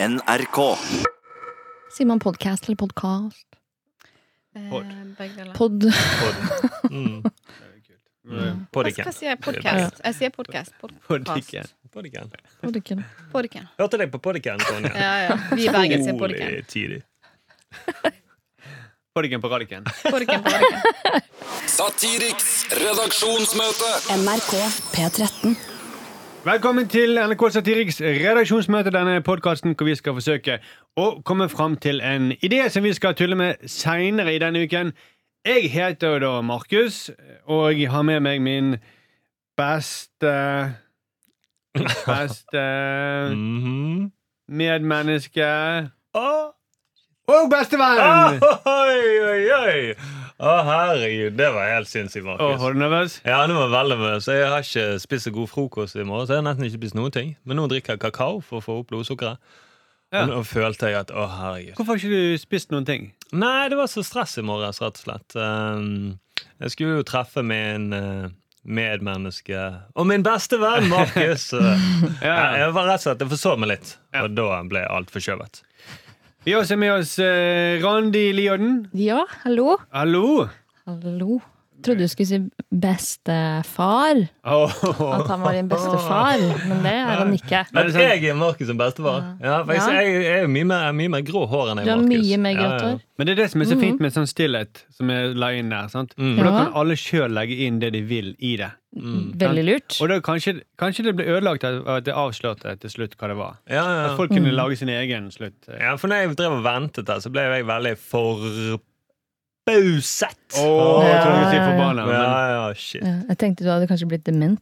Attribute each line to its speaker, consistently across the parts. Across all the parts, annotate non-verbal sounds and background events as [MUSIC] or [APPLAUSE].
Speaker 1: NRK.
Speaker 2: Sier man podcast eller podcast?
Speaker 3: Pod.
Speaker 4: Eh, begge deler.
Speaker 2: Pod. [LAUGHS]
Speaker 3: Pod. Mm.
Speaker 2: Mm.
Speaker 4: Hva
Speaker 3: Podikken.
Speaker 4: sier jeg? Podcast. Jeg sier podcast.
Speaker 5: Podikken.
Speaker 4: Podcast.
Speaker 3: Podikken.
Speaker 2: Podikken.
Speaker 4: Podikken.
Speaker 3: Hørte deg på podikken, [LAUGHS] Tonje.
Speaker 4: Ja, ja. Vi i Bergen sier podikken.
Speaker 3: Utrolig tidlig.
Speaker 5: Podikken på radiken.
Speaker 4: Podikken, podikken.
Speaker 6: Satiriks redaksjonsmøte.
Speaker 7: NRK P13.
Speaker 5: Velkommen til NRK Satiriks redaksjonsmøte, denne podkasten hvor vi skal forsøke å komme fram til en idé som vi skal tulle med seinere i denne uken. Jeg heter jo da Markus, og jeg har med meg min beste Beste
Speaker 3: Mhm.
Speaker 5: medmenneske
Speaker 3: Åh,
Speaker 5: og
Speaker 3: Ah!
Speaker 5: bestevenn!
Speaker 3: Oi, oi, oi! Å, herregud, det var helt sinnssykt,
Speaker 5: Åh,
Speaker 3: Markus.
Speaker 5: var du nervøs?
Speaker 3: Ja, nå var jeg veldig med, så jeg har ikke spist så god frokost i morgen. Så jeg har nesten ikke spist noen ting. Men nå drikker jeg kakao for å få opp blodsukkeret.
Speaker 5: Ja.
Speaker 3: Og nå følte jeg at å, herregud.
Speaker 5: Hvorfor har ikke du spist noen ting?
Speaker 3: Nei, det var så stress i morges, rett og slett. Um, jeg skulle jo treffe min eh, medmenneske og min beste venn, [LAUGHS] Markus. Eh, jeg, jeg var rett og slett, jeg forsov meg litt,
Speaker 5: Ja.
Speaker 3: og da ble alt forskjøvet.
Speaker 5: Vi har også med oss eh, Randi Lioden.
Speaker 2: Ja, hallo.
Speaker 5: Hallo!
Speaker 2: Hallo. Trodde du skulle si bestefar.
Speaker 5: Åh.
Speaker 2: At han var din bestefar. Men det er han ikke.
Speaker 3: Men
Speaker 5: det sånn- sant?
Speaker 3: jeg er Markus som bestefar. Ja, for
Speaker 2: Ja.
Speaker 3: jeg, jeg, jeg er jo mye mer, jeg er mye mer grå hår enn jeg
Speaker 2: Du har
Speaker 3: Markus.
Speaker 2: mye mer
Speaker 3: Ja,
Speaker 2: grått
Speaker 3: ja.
Speaker 2: hår.
Speaker 5: Men det er det som er så fint med sånn stillhet som jeg la inn der. sant? For da
Speaker 2: Ja.
Speaker 5: kan alle sjøl legge inn det de vil i det.
Speaker 3: Mm.
Speaker 2: Veldig lurt.
Speaker 5: Og da kanskje, kanskje det ble ødelagt av at det avslørte til slutt hva det var.
Speaker 3: Ja, ja.
Speaker 5: At folk kunne lage sin egen slutt. Åh,
Speaker 3: ja, for når jeg drev og ventet der, så ble jeg veldig forbauset.
Speaker 5: jeg trodde du skulle
Speaker 2: Ja, ja,
Speaker 5: si
Speaker 2: ja.
Speaker 5: forbanna.
Speaker 3: Ja,
Speaker 5: men-
Speaker 3: ja, shit.
Speaker 2: Ja, jeg tenkte du hadde kanskje blitt dement.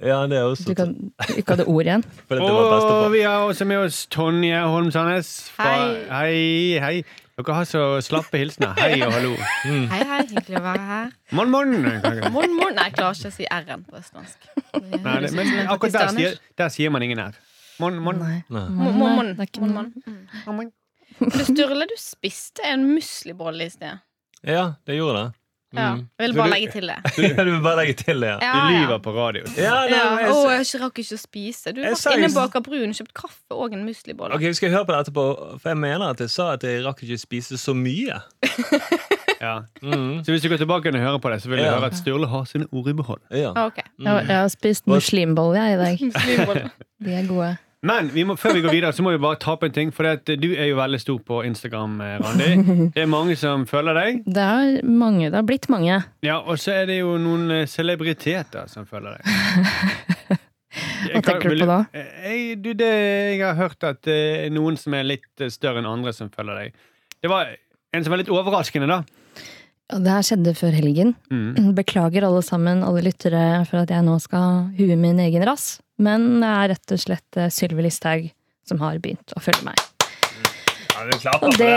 Speaker 3: Ja, det er også
Speaker 2: Du kan, du ikke hadde ord [LAUGHS] igjen.
Speaker 3: fordi det var
Speaker 5: Og
Speaker 3: bestefar.
Speaker 5: vi har også med oss Tonje Holm Sandnes. fra-
Speaker 4: Hei.
Speaker 5: hei. hei. Dere har så slappe hilsener. Hei og hallo.
Speaker 4: Hei, hei. Hyggelig å være her.
Speaker 5: Mon, mon. Nei,
Speaker 4: Morn, morn. Nei, jeg klarer ikke å si R-en på østlandsk. Det høres
Speaker 5: det,
Speaker 4: ut som
Speaker 5: men
Speaker 4: en
Speaker 5: akkurat der
Speaker 4: pakistaner.
Speaker 5: sier, der sier man ingen her. Mon, mon.
Speaker 2: Nei.
Speaker 3: Nei.
Speaker 4: Mo- mo- mon.
Speaker 2: Det er ikke
Speaker 4: Mon-
Speaker 2: noe.
Speaker 4: mon. Mm. Du, Sturle, du spiste en muslibolle i sted.
Speaker 3: Ja, det gjorde det.
Speaker 4: Ja.
Speaker 3: Mm.
Speaker 4: Jeg vil
Speaker 5: Så
Speaker 4: bare
Speaker 5: du-
Speaker 4: legge til det.
Speaker 5: [LAUGHS]
Speaker 3: Ja, du vil bare legge til det, ja.
Speaker 4: Ja,
Speaker 5: Du lyver
Speaker 4: ja.
Speaker 5: på radio.
Speaker 3: ja nei, men
Speaker 4: Ja.
Speaker 3: jeg,
Speaker 4: Å, jeg rakk ikke å spise. Du
Speaker 3: Jeg
Speaker 4: var
Speaker 3: sa jo-
Speaker 4: inne på Aker Brun, kjøpt kaffe og en muslibolle.
Speaker 3: Ok, Vi skal høre på det etterpå, for jeg mener at jeg sa at jeg rakk ikke spise så mye.
Speaker 5: Ja.
Speaker 3: Mm.
Speaker 5: Så hvis du går tilbake og hører på det, så vil du
Speaker 3: Ja.
Speaker 5: høre at Sturle har sine ord i behold.
Speaker 3: Ja.
Speaker 4: Ah, ok.
Speaker 2: Jeg, har- jeg har spist muslimbolle jeg i
Speaker 4: [LAUGHS]
Speaker 2: dag. [LAUGHS]
Speaker 4: Muslimbolle.
Speaker 2: De er gode.
Speaker 5: Men vi må, før vi går videre, så må vi bare ta opp en ting. For det at du er jo veldig stor på Instagram, eh,
Speaker 2: [LAUGHS]
Speaker 5: Randi. Det er mange som følger deg.
Speaker 2: Det er mange. Det har blitt mange.
Speaker 5: Ja, Og så er det jo noen eh, celebriteter som
Speaker 2: [LAUGHS]
Speaker 5: følger deg.
Speaker 2: Hva tenker du på da?
Speaker 5: Jeg, Eh, du, det, jeg har hørt at det er noen som er litt eh, større enn andre, som følger deg. Det var en som var litt overraskende, da.
Speaker 2: Og det her skjedde før helgen.
Speaker 5: Mm.
Speaker 2: Beklager alle sammen, alle lyttere, for at jeg nå skal hue min egen rass. Men det er rett og slett eh, Sylvi Listhaug som har begynt å følge meg.
Speaker 3: Ja, vi klapper
Speaker 2: Og
Speaker 3: for
Speaker 2: det,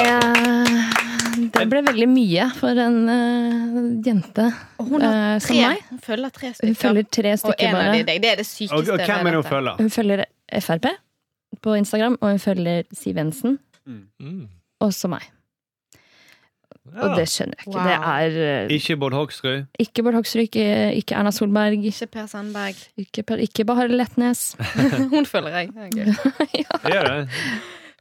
Speaker 3: det.
Speaker 2: det ble veldig mye for en eh, jente
Speaker 4: Og Hun, har
Speaker 2: eh, som
Speaker 4: tre,
Speaker 2: meg.
Speaker 4: hun følger tre stykker.
Speaker 2: Hun følger tre
Speaker 4: og
Speaker 2: stykker
Speaker 4: en av de
Speaker 2: bare.
Speaker 4: deg. Det er det sykeste
Speaker 5: Og, og
Speaker 4: jeg
Speaker 5: hvem er
Speaker 4: vet
Speaker 5: det
Speaker 4: om.
Speaker 5: hun følger?
Speaker 2: Hun følger Frp på Instagram, og hun følger Siv Jensen,
Speaker 3: Mm.
Speaker 2: også meg. Og
Speaker 3: Ja.
Speaker 2: det skjønner jeg ikke.
Speaker 4: Wow.
Speaker 2: Det er eh,
Speaker 5: Ikke Bård Hoksrud.
Speaker 2: ikke Bård Hoksrud, ikke, ikke Erna Solberg,
Speaker 4: Ikke Per
Speaker 5: [LAUGHS]
Speaker 4: Sandberg.
Speaker 2: ikke, Per- ikke Bahareh Letnes.
Speaker 4: Hun følger [LAUGHS] jeg. Det er gøy.
Speaker 5: Det er det.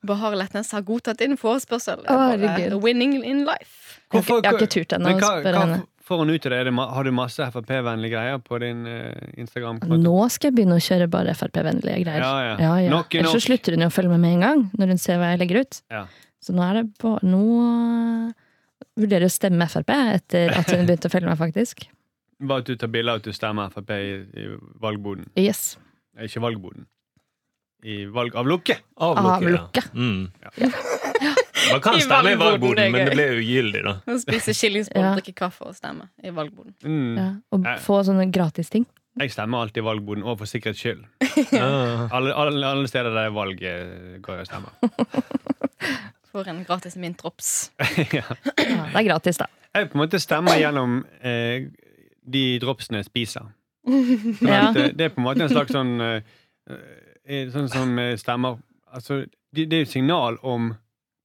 Speaker 4: Bahar Letnes har godtatt din forespørsel.
Speaker 2: Å,
Speaker 4: Bare
Speaker 2: herregud.
Speaker 4: Winning in life.
Speaker 2: Jeg har ikke- jeg har ikke turt ennå
Speaker 5: Men
Speaker 2: å
Speaker 5: hva,
Speaker 2: spørre
Speaker 5: hva
Speaker 2: henne.
Speaker 5: får hun ut av det? Er det? ma- Har du masse Frp-vennlige greier på din eh, Instagram-konto?
Speaker 2: Nå skal jeg begynne å kjøre bare Frp-vennlige greier.
Speaker 5: Ja, ja. Nok er
Speaker 2: Ellers så
Speaker 5: nok.
Speaker 2: slutter hun jo å følge med med en gang, når hun ser hva jeg legger ut.
Speaker 5: Ja.
Speaker 2: Så nå er det bare Nå eh, vurderer jeg å stemme Frp etter at hun begynte å følge meg, faktisk.
Speaker 5: Bare at du tar bilde av at du stemmer Frp i, i valgboden.
Speaker 2: Yes.
Speaker 5: Eh, Ikke valgboden. I valg av lukke!
Speaker 3: Avlukke.
Speaker 2: Avlukke.
Speaker 3: ja. Mm. Man kan
Speaker 4: I
Speaker 3: stemme i
Speaker 4: valgboden, det er
Speaker 3: valgboden, men
Speaker 4: gøy.
Speaker 3: det ble ugyldig, da.
Speaker 4: Hun spiser chilingsboll,
Speaker 2: [LAUGHS] Ja.
Speaker 4: drikker kaffe og stemmer i valgboden.
Speaker 5: Mm.
Speaker 2: Ja. Og
Speaker 5: Eh.
Speaker 2: få sånne gratisting.
Speaker 5: Jeg stemmer alltid i valgboden, og for sikkerhets skyld.
Speaker 3: Ja.
Speaker 5: Alle, alle, alle steder der det er valg, eh, går jeg og stemmer. [LAUGHS]
Speaker 4: Får en gratis mintrops.
Speaker 2: Ja, det er gratis, da.
Speaker 5: Jeg på en måte stemmer gjennom eh, de dropsene jeg
Speaker 2: [LAUGHS]
Speaker 5: spiser. Sånn
Speaker 2: Ja.
Speaker 5: at, eh, det er på en måte en slags sånn eh, eh, Sånn som eh, stemmer Altså, det, det er jo et signal om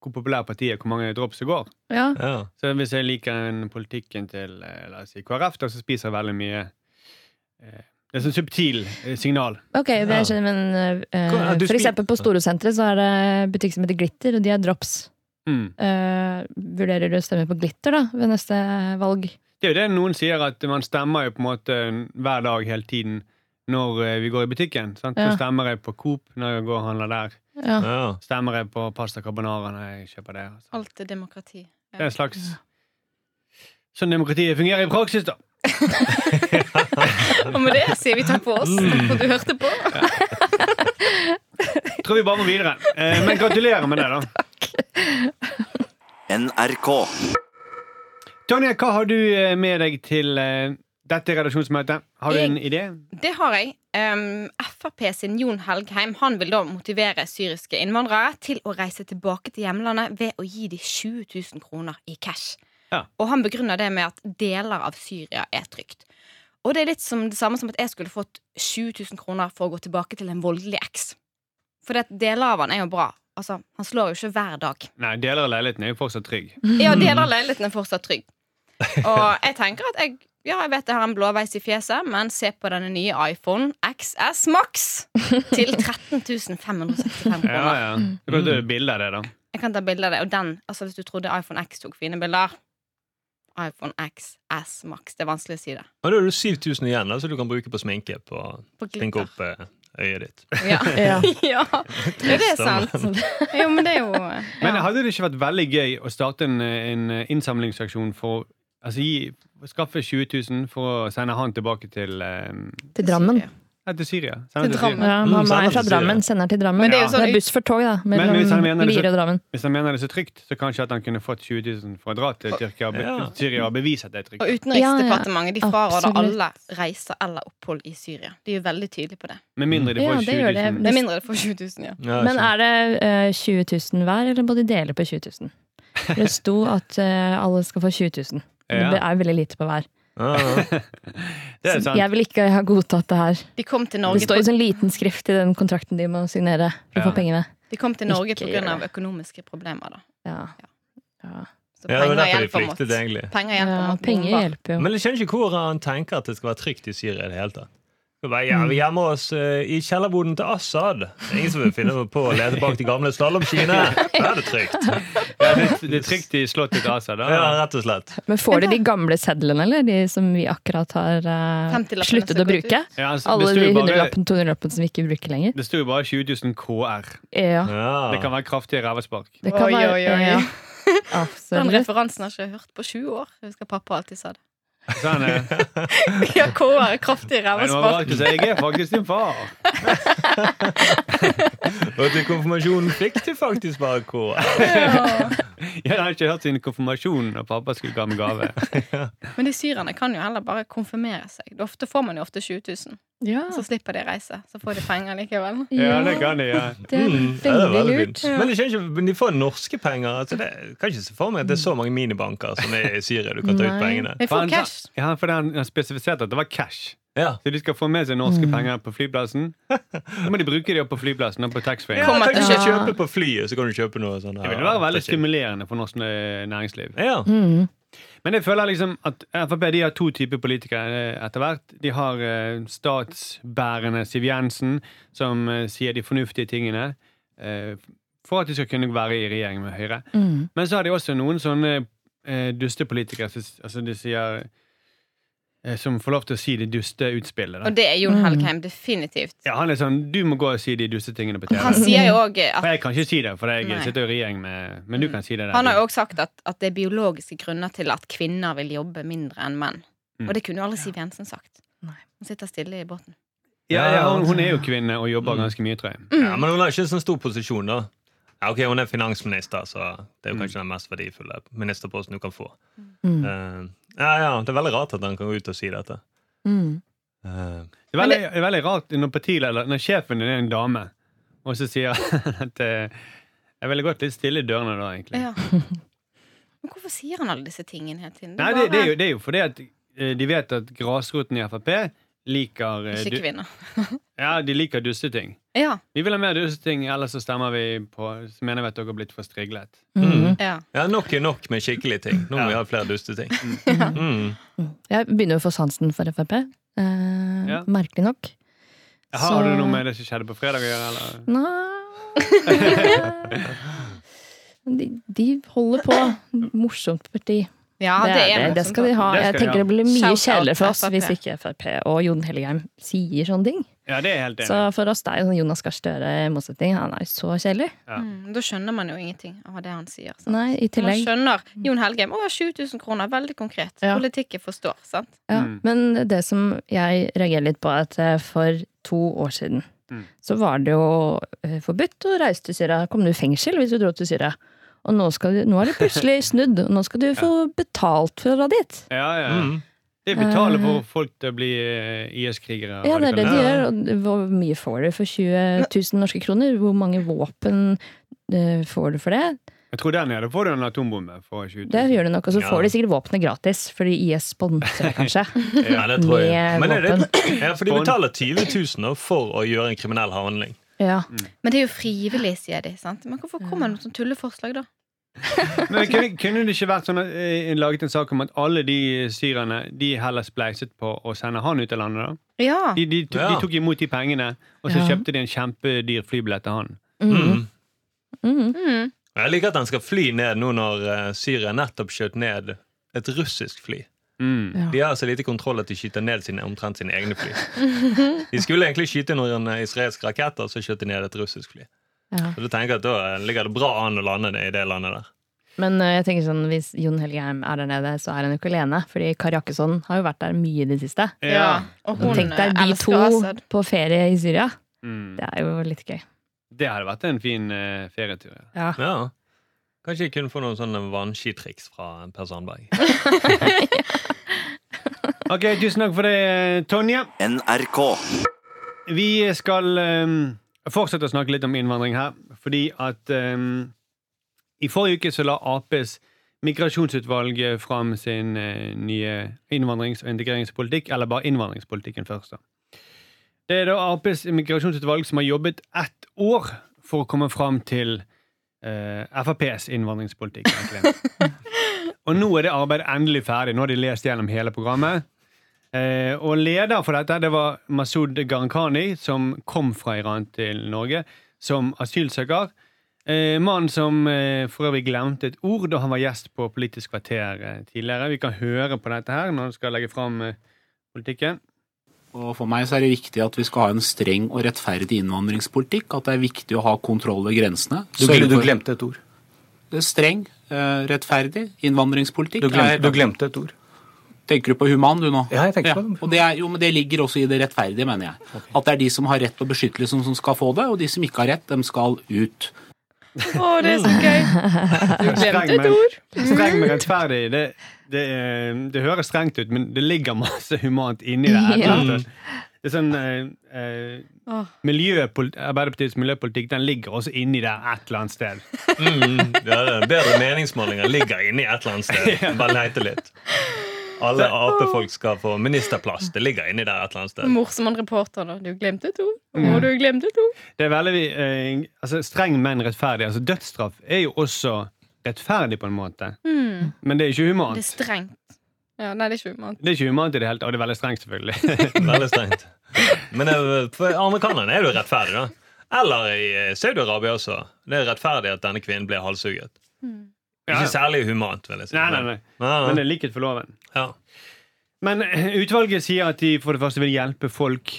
Speaker 5: hvor populær partiet er, hvor mange drops det går.
Speaker 2: Ja.
Speaker 3: Ja.
Speaker 5: Så hvis jeg liker en politikken til eh, la oss si, KrF, da, så spiser jeg veldig mye eh, Det er sånn subtil eh, signal.
Speaker 2: Ok, det
Speaker 3: Ja.
Speaker 2: skjønner, men eh,
Speaker 3: Hvor- ja, du
Speaker 2: for
Speaker 3: spi-
Speaker 2: eksempel på Storosenteret så er det butikk som heter Glitter, og de har drops.
Speaker 5: Mm.
Speaker 2: Eh, vurderer du å stemme på Glitter da, ved neste valg?
Speaker 5: Det er jo det noen sier, at man stemmer jo på en måte hver dag hele tiden når eh, vi går i butikken. Sant?
Speaker 2: Ja.
Speaker 5: Så stemmer jeg på Coop når jeg går og handler der.
Speaker 2: Ja.
Speaker 3: Ja.
Speaker 5: Stemmer jeg på pasta carbonara når jeg kjøper det. Altså.
Speaker 4: Alt er demokrati.
Speaker 5: Det er en slags Sånn demokratiet fungerer i praksis, da.
Speaker 4: Og med det sier vi takk for
Speaker 5: [LAUGHS]
Speaker 4: oss,
Speaker 3: Mm.
Speaker 4: for du hørte på.
Speaker 5: Tror vi bare må videre. Eh, Men gratulerer med det, da.
Speaker 1: NRK.
Speaker 5: Tonje, hva har du eh, med deg til eh, dette redaksjonsmøtet? Har du en idé?
Speaker 4: Det har jeg. Um, Frp sin Jon Helgheim Han vil da motivere syriske innvandrere til å reise tilbake til hjemlandet ved å gi dem 20 000 kroner i cash.
Speaker 5: Ja.
Speaker 4: Og han begrunner det med at deler av Syria er trygt. Og det er litt som det samme som at jeg skulle fått 20 000 kroner for å gå tilbake til en voldelig eks. For det at deler av han er jo bra. Altså, Han slår jo ikke hver dag.
Speaker 5: Nei, deler av leiligheten er jo fortsatt trygg.
Speaker 4: [LAUGHS] Ja,
Speaker 5: Mm.
Speaker 4: deler av leiligheten er fortsatt trygg. Og
Speaker 5: [LAUGHS]
Speaker 4: jeg tenker at jeg ja, jeg vet jeg har en blåveis i fjeset, men se på denne nye iPhone XS Max til
Speaker 5: [LAUGHS]
Speaker 4: 13 565
Speaker 5: Ja,
Speaker 4: kroner.
Speaker 5: ja. Du kan ta bilde av det, da.
Speaker 4: Jeg kan ta bilde av det. Og den, altså hvis du trodde iPhone X tok fine bilder iPhone XS Max. Det er vanskelig å si det.
Speaker 3: Og da er det 7000 igjen da, som du kan bruke på sminke på
Speaker 4: På
Speaker 3: sminke
Speaker 4: glitter.
Speaker 3: opp eh, øyet ditt.
Speaker 4: Ja. [LAUGHS]
Speaker 2: Ja.
Speaker 4: ja. Er det sant? Jo, men det er jo ja.
Speaker 5: Men hadde det ikke vært veldig gøy å starte en, en innsamlingsaksjon for Altså gi, skaffe 20 000 for å sende han tilbake til, eh,
Speaker 2: Til Drammen.
Speaker 5: nei, til Syria?
Speaker 4: Til
Speaker 5: Sende
Speaker 4: Drammen.
Speaker 2: Ja,
Speaker 3: Mm,
Speaker 2: mamma
Speaker 3: sender
Speaker 2: er fra
Speaker 3: til
Speaker 2: Drammen, sender til Drammen.
Speaker 4: Men det er jo sånn-
Speaker 2: buss for tog, da.
Speaker 5: Men hvis han mener
Speaker 2: Mellom
Speaker 5: det så-
Speaker 2: Lier og Drammen.
Speaker 5: Hvis han mener det er så trygt, så kanskje at han kunne fått 20 000 for å dra til Tyrkia, og be,
Speaker 3: Ja.
Speaker 5: Syria og bevise at det er trygt.
Speaker 4: Og Utenriksdepartementet de fraråder
Speaker 2: Absolutt.
Speaker 4: alle reiser eller opphold i Syria. De er jo veldig tydelige på det.
Speaker 5: Med mindre de
Speaker 2: Ja,
Speaker 5: får
Speaker 2: det gjør
Speaker 5: 20
Speaker 2: det.
Speaker 5: 000.
Speaker 4: Med mindre det får 20 000, ja.
Speaker 3: Ja,
Speaker 2: Men
Speaker 3: skjønner.
Speaker 2: er det eh, 20 000 hver, eller må de dele på 20 000? For Det sto at eh, alle skal få 20 000. Men Det
Speaker 5: Ja.
Speaker 2: er veldig lite på hver.
Speaker 3: Ja, ja.
Speaker 5: Det er sant.
Speaker 2: Jeg vil ikke ha godtatt det her.
Speaker 4: De kom til
Speaker 2: Det
Speaker 4: Norge
Speaker 2: står
Speaker 4: på
Speaker 2: i sånn liten skrift i den kontrakten de må signere for å
Speaker 5: Ja.
Speaker 2: få pengene.
Speaker 4: De kom til Norge
Speaker 2: Ikke
Speaker 4: pga.
Speaker 2: gjør
Speaker 4: økonomiske problemer. da
Speaker 2: Ja. Ja.
Speaker 4: Så
Speaker 3: ja, det var
Speaker 4: penger
Speaker 3: derfor de
Speaker 4: hjelper mot
Speaker 3: flyktet, egentlig.
Speaker 4: Penger hjelper
Speaker 2: ja,
Speaker 4: mot
Speaker 2: penger
Speaker 4: bomber.
Speaker 2: hjelper jo.
Speaker 3: Men jeg skjønner ikke hvor han tenker at det skal være trygt i Syria i det hele tatt. Det er Bare, ja, vi gjemmer oss eh, i kjellerboden til Assad. Det er Ingen som vil finne på å lede bak de gamle slalåmskiene. Da er det trygt.
Speaker 5: Ja, det, det er trygt i slottet til Asa. Da.
Speaker 3: Ja, rett og slett.
Speaker 2: Men får de de gamle sedlene, eller? De som vi akkurat har eh,
Speaker 4: Femtilappene
Speaker 2: sluttet å
Speaker 4: som går ut.
Speaker 2: bruke?
Speaker 5: Ja, altså,
Speaker 2: Alle
Speaker 5: det
Speaker 2: de
Speaker 5: sto jo bare,
Speaker 2: hundrelappene, tohundrelappene som vi ikke bruker lenger?
Speaker 5: det sto jo bare 20 000 KR.
Speaker 2: Ja.
Speaker 5: Det kan
Speaker 3: Ja.
Speaker 5: være kraftige rævespark.
Speaker 2: Det kan
Speaker 4: Oi,
Speaker 2: være
Speaker 4: oi, oi. [LAUGHS]
Speaker 2: Ja.
Speaker 4: Den
Speaker 2: Absolutt.
Speaker 4: referansen har jeg ikke hørt på sju år. Jeg husker pappa alltid sa det. [LAUGHS]
Speaker 5: Sånn,
Speaker 2: [LAUGHS]
Speaker 5: eh, nei,
Speaker 4: Ja, K-er, kraftig
Speaker 5: det var
Speaker 4: rævespark.
Speaker 5: valgt å si, jeg er faktisk din far.
Speaker 3: Og til konfirmasjonen fikk de faktisk bare kår.
Speaker 5: Jeg har ikke hørt sin konfirmasjon når pappa skulle ga meg gave.
Speaker 4: Men de syrerne kan jo heller bare konfirmere seg. Det er Ofte får man jo ofte 20 000.
Speaker 2: Ja.
Speaker 4: Så slipper de reise. Så får de penger likevel.
Speaker 5: Ja, det kan jeg, ja.
Speaker 2: Det er
Speaker 3: Mm, ja, det er
Speaker 2: veldig
Speaker 3: veldig
Speaker 2: lurt.
Speaker 3: fint. Men jeg skjønner ikke, men de får norske penger. Altså det, jeg kan ikke se for meg at det er så mange minibanker som er i Syria du kan ta ut
Speaker 2: Nei.
Speaker 3: pengene.
Speaker 4: De får cash.
Speaker 5: Ja, for han han spesifiserte at det var cash.
Speaker 3: Ja.
Speaker 5: Så de skal få med seg
Speaker 2: Mm.
Speaker 5: norske penger på flyplassen.
Speaker 3: [LAUGHS]
Speaker 5: Så må de bruke de opp på flyplassen og på taxfree.
Speaker 3: Ja,
Speaker 4: Kommer
Speaker 3: kan du
Speaker 4: til-
Speaker 3: ikke kjøpe på flyet, så kan du kjøpe noe sånn
Speaker 5: Det
Speaker 3: her.
Speaker 5: ville være veldig stimulerende for norsk eh, næringsliv.
Speaker 3: Ja.
Speaker 2: Mm.
Speaker 5: Men jeg føler liksom at Frp de har to typer politikere eh, etter hvert. De har eh, statsbærende Siv Jensen, som eh, sier de fornuftige tingene eh, for at de skal kunne være i regjering med Høyre.
Speaker 2: Mm.
Speaker 5: Men så har de også noen sånne eh, dustepolitikere som altså de sier eh, Som får lov til å si de duste utspillene.
Speaker 4: Og det er Jon
Speaker 2: Mm.
Speaker 4: Helgheim definitivt.
Speaker 5: Ja, han er sånn Du må gå og si de dustetingene på TV.
Speaker 4: Han sier jo òg at
Speaker 5: For jeg kan ikke si det, for jeg
Speaker 4: Nei.
Speaker 5: sitter jo i regjering med Men du kan si det. der.
Speaker 4: Han har jo også sagt at, at det er biologiske grunner til at kvinner vil jobbe mindre enn menn.
Speaker 5: Mm.
Speaker 4: Og det kunne jo aldri Siv Jensen sagt.
Speaker 2: Nei.
Speaker 4: Hun sitter stille i båten.
Speaker 5: ja, ja, Mm. hun, hun er jo kvinne og jobber ganske mye, tror jeg.
Speaker 3: Ja, men hun har ikke en sånn stor posisjon, da. Ja, ok, Hun er finansminister, så
Speaker 5: Mm.
Speaker 3: det er jo kanskje den mest verdifulle ministerposten du kan få.
Speaker 2: Mm.
Speaker 3: Eh, ja, ja, Det er veldig rart at han kan gå ut og si dette.
Speaker 2: Mm.
Speaker 3: Eh,
Speaker 5: Det er veldig, det er veldig rart når partileder, når sjefen din er en dame, og så sier [LAUGHS] han at eh, Jeg ville gått litt stille i dørene da, egentlig. [LAUGHS]
Speaker 4: Ja. Men hvorfor sier han alle disse tingene hele tiden?
Speaker 5: Nei, det, det, er jo,
Speaker 4: bare-
Speaker 5: det er jo fordi at eh, de vet at grasroten i Frp liker eh,
Speaker 4: ikke
Speaker 5: du,
Speaker 4: kvinner.
Speaker 5: Ja, de liker dusteting.
Speaker 4: Ja,
Speaker 5: Vi vil ha mer dusteting, ellers så stemmer vi på Så mener vi at dere har blitt for striglet.
Speaker 2: Mm.
Speaker 4: ja.
Speaker 3: ja, Nok er nok [LAUGHS] med skikkelige ting. Nå må vi ha flere dusteting. Mm.
Speaker 2: Jeg begynner jo å få sansen for Frp. eh,
Speaker 5: Ja.
Speaker 2: merkelig nok.
Speaker 5: Har, har du noe med det som skjedde på fredag å gjøre? Eller? [LAUGHS]
Speaker 2: Nei de, de holder på. Morsomt parti.
Speaker 4: Ja,
Speaker 2: det, er det. det
Speaker 4: morsomt,
Speaker 2: skal de ha.
Speaker 5: Det skal
Speaker 2: Jeg
Speaker 5: de
Speaker 2: tenker
Speaker 5: ha.
Speaker 2: det blir mye
Speaker 4: Shout out
Speaker 2: kjedeligere for oss
Speaker 4: FrP.
Speaker 2: hvis ikke Frp og Jon Helligheim sier sånne ting.
Speaker 5: Ja, det er jeg helt enig.
Speaker 2: Så for oss det er jo sånn Jonas Gahr Støre i motsetning. Han er jo så kjedelig.
Speaker 5: Ja.
Speaker 4: Mm, da skjønner man jo ingenting av det han sier. Sant?
Speaker 2: Nei, i
Speaker 4: Man
Speaker 2: tillegg.
Speaker 4: skjønner Jon Helgheim. Å, 7000 kroner. Veldig konkret.
Speaker 2: Ja.
Speaker 4: Politikk jeg forstår. sant?
Speaker 2: Ja.
Speaker 5: Mm.
Speaker 2: Men det som jeg reagerer litt på, er at eh, for to år siden
Speaker 5: Mm.
Speaker 2: så var det jo eh, forbudt å reise til Syria. Kom du i fengsel hvis du dro til Syria? Og nå, skal du, nå er det plutselig snudd, og nå skal du få betalt for å dra dit.
Speaker 5: Ja, ja.
Speaker 3: Mm.
Speaker 5: De betaler for folk til å bli eh, IS-krigere.
Speaker 2: Ja, det er det de
Speaker 5: radikale.
Speaker 2: gjør. Og hvor mye får du for 20 000 norske kroner? Hvor mange våpen eh, får du for det?
Speaker 5: Jeg tror der nede får du en atombombe. For 20 000.
Speaker 2: Det gjør du nok, og så
Speaker 3: Ja.
Speaker 2: får de sikkert våpenet gratis, fordi IS sponser kanskje.
Speaker 3: [LAUGHS] Ja, det tror
Speaker 2: Med
Speaker 3: jeg. Men er det, [CLEARS THROAT] ja, for de
Speaker 5: Bånd.
Speaker 3: betaler 20 000 nå for å gjøre en kriminell handling.
Speaker 2: Ja.
Speaker 4: Men det er jo frivillig, sier de. sant? Men hvorfor kommer det med sånne tulleforslag, da?
Speaker 5: Men kunne, kunne det ikke vært sånn at eh, laget en sak om at alle de syrerne de heller spleiset på å sende han ut av landet? da?
Speaker 4: Ja.
Speaker 5: De, de, tok,
Speaker 3: Ja.
Speaker 5: de tok imot de pengene, og så
Speaker 2: Ja.
Speaker 5: kjøpte de en kjempedyr flybillett til han.
Speaker 2: Mm.
Speaker 3: Mm.
Speaker 2: Mm.
Speaker 4: Mm.
Speaker 3: Jeg liker at han skal fly ned nå når eh, Syria nettopp skjøt ned et russisk fly.
Speaker 5: Mm.
Speaker 2: Ja.
Speaker 3: De har så lite kontroll at de skyter ned sine, omtrent sine egne fly. De skulle egentlig skyte noen eh, israelske raketter, så skjøt de ned et russisk fly.
Speaker 2: Ja.
Speaker 3: Så du tenker jeg at Da eh, ligger det bra an å lande det i det landet der.
Speaker 2: Men eh, jeg tenker sånn, hvis Jon Helgheim er der nede, så er han jo ikke alene. Fordi Kari Jakkesson har jo vært der mye i det siste.
Speaker 4: ja. Og hun eh,
Speaker 2: Tenk deg de
Speaker 4: elsker
Speaker 2: to
Speaker 4: Assad.
Speaker 2: på ferie i Syria.
Speaker 5: Mm.
Speaker 2: Det er jo litt gøy.
Speaker 5: Det hadde vært en fin eh, ferietur. ja.
Speaker 2: Ja.
Speaker 3: Ja. Kanskje jeg kunne få noen sånne vannskitriks fra Per Sandberg.
Speaker 5: Ok, Tusen takk for det, eh, Tonje.
Speaker 1: NRK.
Speaker 5: Vi skal eh, fortsette å snakke litt om innvandring her, fordi at eh, I forrige uke så la Aps migrasjonsutvalg fram sin eh, nye innvandrings- og integreringspolitikk, eller bare innvandringspolitikken først. da. Det er da Aps migrasjonsutvalg som har jobbet ett år for å komme fram til eh, FrPs innvandringspolitikk. egentlig. og nå er det arbeidet endelig ferdig. Nå har de lest gjennom hele programmet. Eh, og leder for dette det var Masud Gharahkhani, som kom fra Iran til Norge som asylsøker. Eh, Mannen som eh, for øvrig glemte et ord da han var gjest på Politisk kvarter eh, tidligere. Vi kan høre på dette her når han skal legge fram eh, politikken.
Speaker 8: Og For meg så er det viktig at vi skal ha en streng og rettferdig innvandringspolitikk. At det er viktig å ha kontroll over grensene.
Speaker 1: Du,
Speaker 8: Sørge
Speaker 1: gl- du
Speaker 8: for-
Speaker 1: glemte et ord.
Speaker 8: Streng, eh, rettferdig innvandringspolitikk.
Speaker 1: Du
Speaker 8: er-
Speaker 1: glemte, du glemte et ord.
Speaker 8: Tenker du på human, du nå?
Speaker 1: Ja, jeg tenker på det.
Speaker 8: Og det er, jo, men det ligger også i det rettferdige, mener jeg. At det er de som har rett på beskyttelse, som, som skal få det. Og de som ikke har rett, dem skal ut.
Speaker 4: Å, det er så
Speaker 2: [LAUGHS]
Speaker 4: gøy! Du [LAUGHS] glemte et ord.
Speaker 5: Streng, men rettferdig. Det, det, eh, det høres strengt ut, men det ligger masse humant inni det. her.
Speaker 2: Ja.
Speaker 5: sant? Det er sånn eh, eh,
Speaker 4: Åh.
Speaker 5: miljøpolit- Arbeiderpartiets miljøpolitikk den ligger også inni der et eller annet sted.
Speaker 3: Mm, ja, det er bedre meningsmålinger ligger inne i et eller annet sted. Bare leite litt. Alle Ap-folk skal få ministerplass. Det ligger inni der et eller annet sted.
Speaker 4: Mor som en reporter, da. Du glemte et ord. Å, du glemte et ord.
Speaker 5: Det er veldig eh, altså, Streng, men rettferdig. Altså, dødsstraff er jo også rettferdig, på en måte.
Speaker 4: Mm.
Speaker 5: Men det er ikke
Speaker 4: Det er
Speaker 5: humant.
Speaker 4: strengt. Ja, nei, det er ikke humant.
Speaker 5: Det er ikke humant i det hele tatt. Og det er veldig strengt, selvfølgelig.
Speaker 3: Veldig strengt. Men eh, for amerikanerne er det jo rettferdig, da. Eller i eh, Saudi-Arabia også. Det er rettferdig at denne kvinnen ble halshugget. Ikke særlig humant, vil jeg si.
Speaker 5: Nei, nei, nei. Men
Speaker 3: Men-
Speaker 5: det er likhet for loven.
Speaker 3: Ja.
Speaker 5: Men eh, utvalget sier at de for det første vil hjelpe folk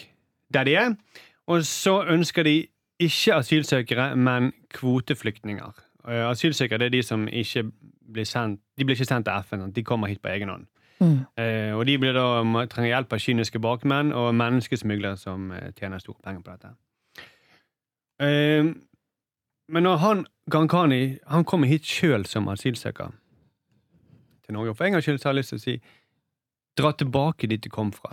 Speaker 5: der de er, og så ønsker de ikke asylsøkere, men kvoteflyktninger. Eh, Asylsøkere det er de som ikke blir sendt De blir ikke sendt til FN, sant? de kommer hit på egen hånd.
Speaker 2: Mm.
Speaker 5: Eh, Og de blir da, må- trenger hjelp av kyniske bakmenn og menneskesmuglere som eh, tjener store penger på dette. Eh, Men når han Ghanghani han kommer hit sjøl som asylsøker til Norge. For en gangs skyld så har jeg lyst til å si dra tilbake dit du kom fra.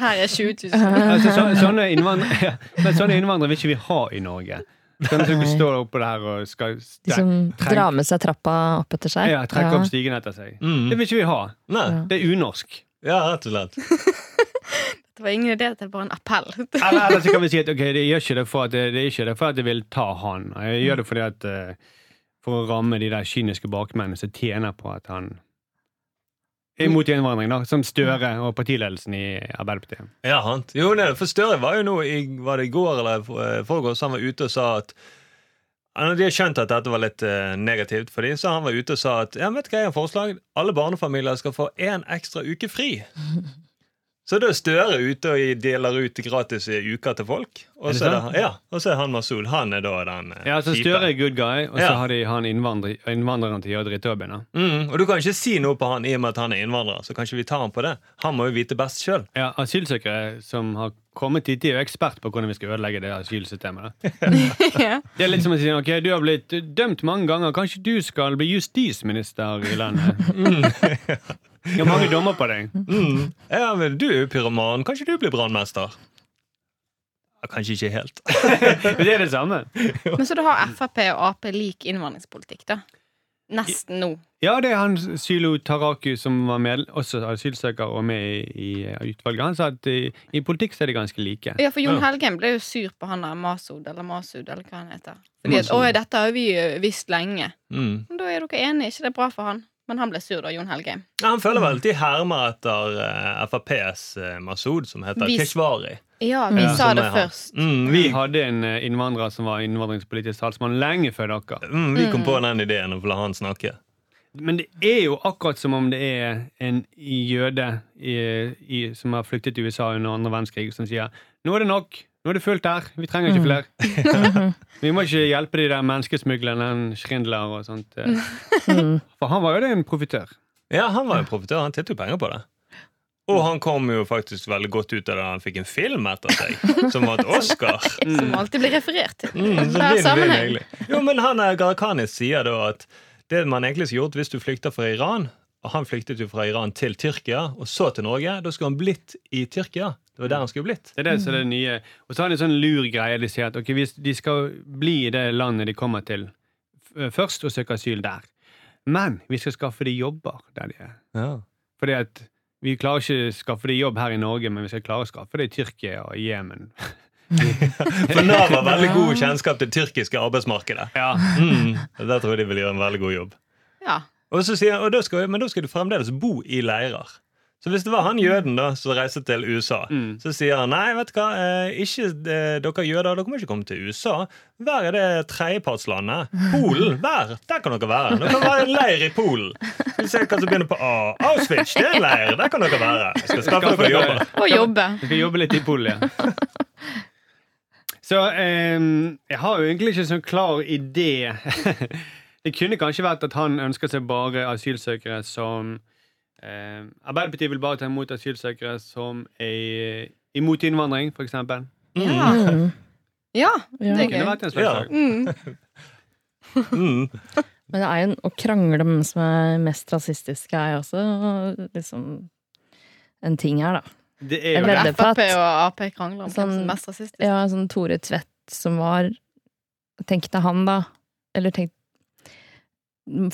Speaker 4: Her er 20 [LAUGHS] 000.
Speaker 5: Altså, så, sånne, innvandrere, [LAUGHS] ja, men sånne innvandrere vil ikke vi ha i Norge. Sånne som
Speaker 2: Nei.
Speaker 5: står oppå der og skal
Speaker 2: De som
Speaker 5: Treng-
Speaker 2: drar med seg trappa opp etter seg.
Speaker 5: ja, trekke opp stigen etter seg. Det
Speaker 3: Mm.
Speaker 5: vil ikke vi ha.
Speaker 3: Nei.
Speaker 2: Ja.
Speaker 5: Det er unorsk.
Speaker 3: Ja, rett og slett.
Speaker 4: Det var ingen idé, det var bare en [LAUGHS] appell.
Speaker 5: Eller, eller så kan vi si at ok, det gjør ikke det for at, det er ikke det for at jeg vil ta han. Jeg gjør det fordi at eh, for å ramme de der kyniske bakmennene som tjener på at han imot innvandring, da, som Støre og partiledelsen i Arbeiderpartiet.
Speaker 3: Ja, han. Jo, nei, for Støre var jo nå i, var det i går eller eh, forgårs han var ute og sa at Ja, når De har skjønt at dette var litt eh, negativt for dem, så han var ute og sa at ja, vet du hva jeg har forslag? alle barnefamilier skal få én ekstra uke
Speaker 5: [LAUGHS]
Speaker 3: fri. Så da er Støre ute og deler ut gratis i uka til folk.
Speaker 5: Er
Speaker 3: Og
Speaker 5: det
Speaker 3: så er,
Speaker 5: sant?
Speaker 3: det, ja, og så er han Masul. Han er da den eh,
Speaker 5: Ja, så
Speaker 3: kjipe.
Speaker 5: Støre er good guy, og så
Speaker 3: Ja.
Speaker 5: har de han innvandrer, innvandreren til å gjøre drittjobben. da.
Speaker 3: Mm, og du kan ikke si noe på han i og med at han er innvandrer, så kanskje vi tar han på det. Han må jo vite best sjøl.
Speaker 5: Ja, Asylsøkere som har kommet hit, de er jo ekspert på hvordan vi skal ødelegge det asylsystemet. da.
Speaker 4: [LAUGHS] Ja.
Speaker 5: Det er litt som å si ok, du har blitt dømt mange ganger, kanskje du skal bli justisminister i
Speaker 4: [LAUGHS]
Speaker 5: landet? Jeg har mange dommer på deg.
Speaker 3: Mm. Ja, men du er jo pyroman. Kanskje du blir brannmester? Ja, Kanskje ikke helt.
Speaker 5: Men det er det samme.
Speaker 4: Men så da har Frp og Ap lik innvandringspolitikk, da? Nesten nå.
Speaker 5: Ja, det er han Sylo Taraku som var med, også asylsøker og med i, i utvalget. Han sa at i, i politikk så er de ganske like.
Speaker 4: Ja, for Jon Helgheim ble jo sur på han der Masud, eller Masud, eller hva han heter. Fordi at 'Å, dette har vi ø, visst lenge'.
Speaker 3: Mm.
Speaker 4: Men da er dere enige, ikke det er bra for han? Men han ble sur, da, Jon Helgheim.
Speaker 3: Ja, han føler vel at de hermer etter uh, FrPs eh, Masud, som heter
Speaker 4: Vi-
Speaker 3: Keshvari.
Speaker 4: Ja, vi
Speaker 3: Ja.
Speaker 4: sa
Speaker 3: Som
Speaker 4: det
Speaker 3: er han.
Speaker 4: først.
Speaker 3: Mm,
Speaker 5: Vi
Speaker 3: vi,
Speaker 5: hadde en eh, innvandrer som var innvandringspolitisk talsmann lenge før dere.
Speaker 3: mm, vi kom på den ideen og la han snakke.
Speaker 5: Men det er jo akkurat som om det er en jøde i, i, som har flyktet til USA under andre verdenskrig, som sier nå er det nok, nå er det fullt her, vi trenger ikke flere. vi må ikke hjelpe de der menneskesmuglerne, Schrindler og sånt. eh.
Speaker 2: Mm. [LAUGHS]
Speaker 5: For han var jo det en profitør.
Speaker 3: Ja, han var jo profitør. Han tjente jo penger på det. Og han kom jo faktisk veldig godt ut av det. Han fikk en film etter seg, som var et Oscar.
Speaker 4: Som alltid blir referert til.
Speaker 3: Mm, så
Speaker 4: Hver
Speaker 3: fin, fin,
Speaker 4: sammenheng.
Speaker 3: egentlig. jo, men han eh, Gharahkhani sier da at det man egentlig skulle gjort hvis du flykter fra Iran Og han flyktet jo fra Iran til Tyrkia, og så til Norge. Da skulle han blitt i Tyrkia. Det var der han skulle blitt.
Speaker 5: Det er det som er det nye. Og så har de en sånn lur greie. De sier at ok, hvis de skal bli i det landet de kommer til f- først, og søke asyl der. Men vi skal skaffe de jobber der de er. Fordi at vi klarer ikke å skaffe de jobb her i Norge, men vi skal klare å skaffe det i Tyrkia og Jemen.
Speaker 3: For Nav har veldig god kjennskap til det tyrkiske arbeidsmarkedet.
Speaker 5: [LAUGHS] Ja.
Speaker 3: Mm, der tror jeg de vil gjøre en veldig god jobb.
Speaker 4: Ja.
Speaker 3: Og så sier han, og da skal, Men da skal du fremdeles bo i leirer. Så hvis det var han jøden da som reiste til USA,
Speaker 5: Mm.
Speaker 3: så sier han nei, vet du hva, eh, ikke eh, dere jøder, dere må ikke komme til USA. Vær i det tredjepartslandet. Polen, vær. Der kan dere være. Dere kan være i en leir i Polen. Vi ser hva som begynner på A. Auschwitz, det er en leir. Der kan dere være. Jeg skal skaffe dere jobber.
Speaker 4: Og jobbe.
Speaker 5: Vi skal jobbe litt i Polen, ja. Så eh, jeg har jo egentlig ikke sånn klar idé. [LAUGHS] Det kunne kanskje vært at han ønsker seg bare asylsøkere som eh, Arbeiderpartiet vil bare ta imot asylsøkere som er imot innvandring, f.eks. Det
Speaker 4: Ja. Mm.
Speaker 2: Mm.
Speaker 4: ja,
Speaker 2: Ja.
Speaker 4: det er
Speaker 5: kunne
Speaker 4: gøy.
Speaker 5: vært en slags
Speaker 3: Ja.
Speaker 5: sak.
Speaker 4: Mm.
Speaker 3: Mm.
Speaker 2: Men det er jo en, å krangle om hvem som er mest rasistiske, er jo også liksom en ting her, da.
Speaker 5: Det
Speaker 2: Jeg
Speaker 5: er jo
Speaker 2: ble
Speaker 5: det.
Speaker 2: redd.
Speaker 4: Frp og Ap krangler om hvem
Speaker 2: Sånn-
Speaker 4: som er mest rasistisk.
Speaker 2: Ja, sånn Tore Tvedt som var Tenk deg han, da. Eller tenk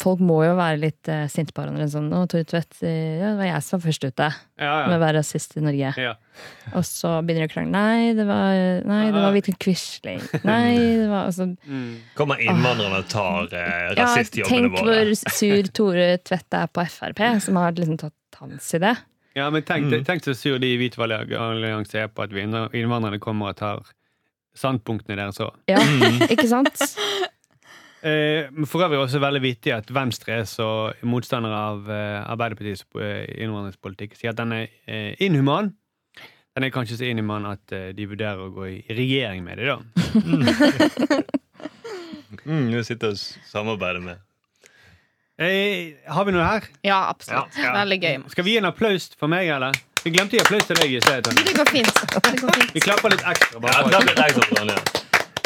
Speaker 2: Folk må jo være litt eh, sinte på hverandre. Sånn, å, Tore Tvedt, eh, ja, det var jeg som var først ute med
Speaker 5: Ja,
Speaker 2: å være rasist i Norge.
Speaker 5: ja. ja.
Speaker 2: Og så begynner de å krangle. Nei, det var, nei, det var Vidkun
Speaker 5: [LAUGHS]
Speaker 2: Quisling. Nei, det var altså
Speaker 5: Mm.
Speaker 3: Kommer innvandrerne og tar eh,
Speaker 2: Ja,
Speaker 3: rasistjobbene
Speaker 2: tenk hvor
Speaker 3: våre.
Speaker 2: [LAUGHS] sur Tore Tvedt er på Frp, som har liksom tatt hans idé.
Speaker 5: Ja, men tenk,
Speaker 3: Mm.
Speaker 5: tenk så sur de i Hvit allianse er på at vi innvandrer- innvandrerne kommer og tar standpunktene deres òg.
Speaker 2: Ja,
Speaker 5: Mm.
Speaker 2: ikke sant?
Speaker 5: Eh, men for øvrig også veldig vittig at Venstre er så motstander av eh, Arbeiderpartiets eh, innvandringspolitikk. Sier at den er eh, inhuman. Den er kanskje så inhuman at eh, de vurderer å gå i regjering med det, da.
Speaker 3: Mm, vi sitter og s- samarbeider med.
Speaker 5: Eh, har vi noe her?
Speaker 4: Ja, absolutt. Veldig gøy.
Speaker 5: Skal vi gi en applaus for meg, eller? Vi glemte å gi applaus til deg i sted. Tonje.
Speaker 4: Det går fint. Det går fint.
Speaker 5: Vi klapper litt ekstra.
Speaker 3: Ja,
Speaker 5: Bare
Speaker 3: da
Speaker 5: for at-
Speaker 3: blir jeg sånn, Ronja.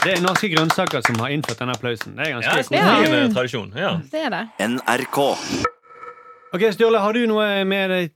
Speaker 5: det er norske grønnsaker som har innført denne applausen. Det er
Speaker 3: Ja,
Speaker 5: ganske
Speaker 3: det
Speaker 5: koselig.
Speaker 3: er en eh, tradisjon. Ja.
Speaker 4: Det er det.
Speaker 1: NRK.
Speaker 5: Ok, Sturle, har du noe med deg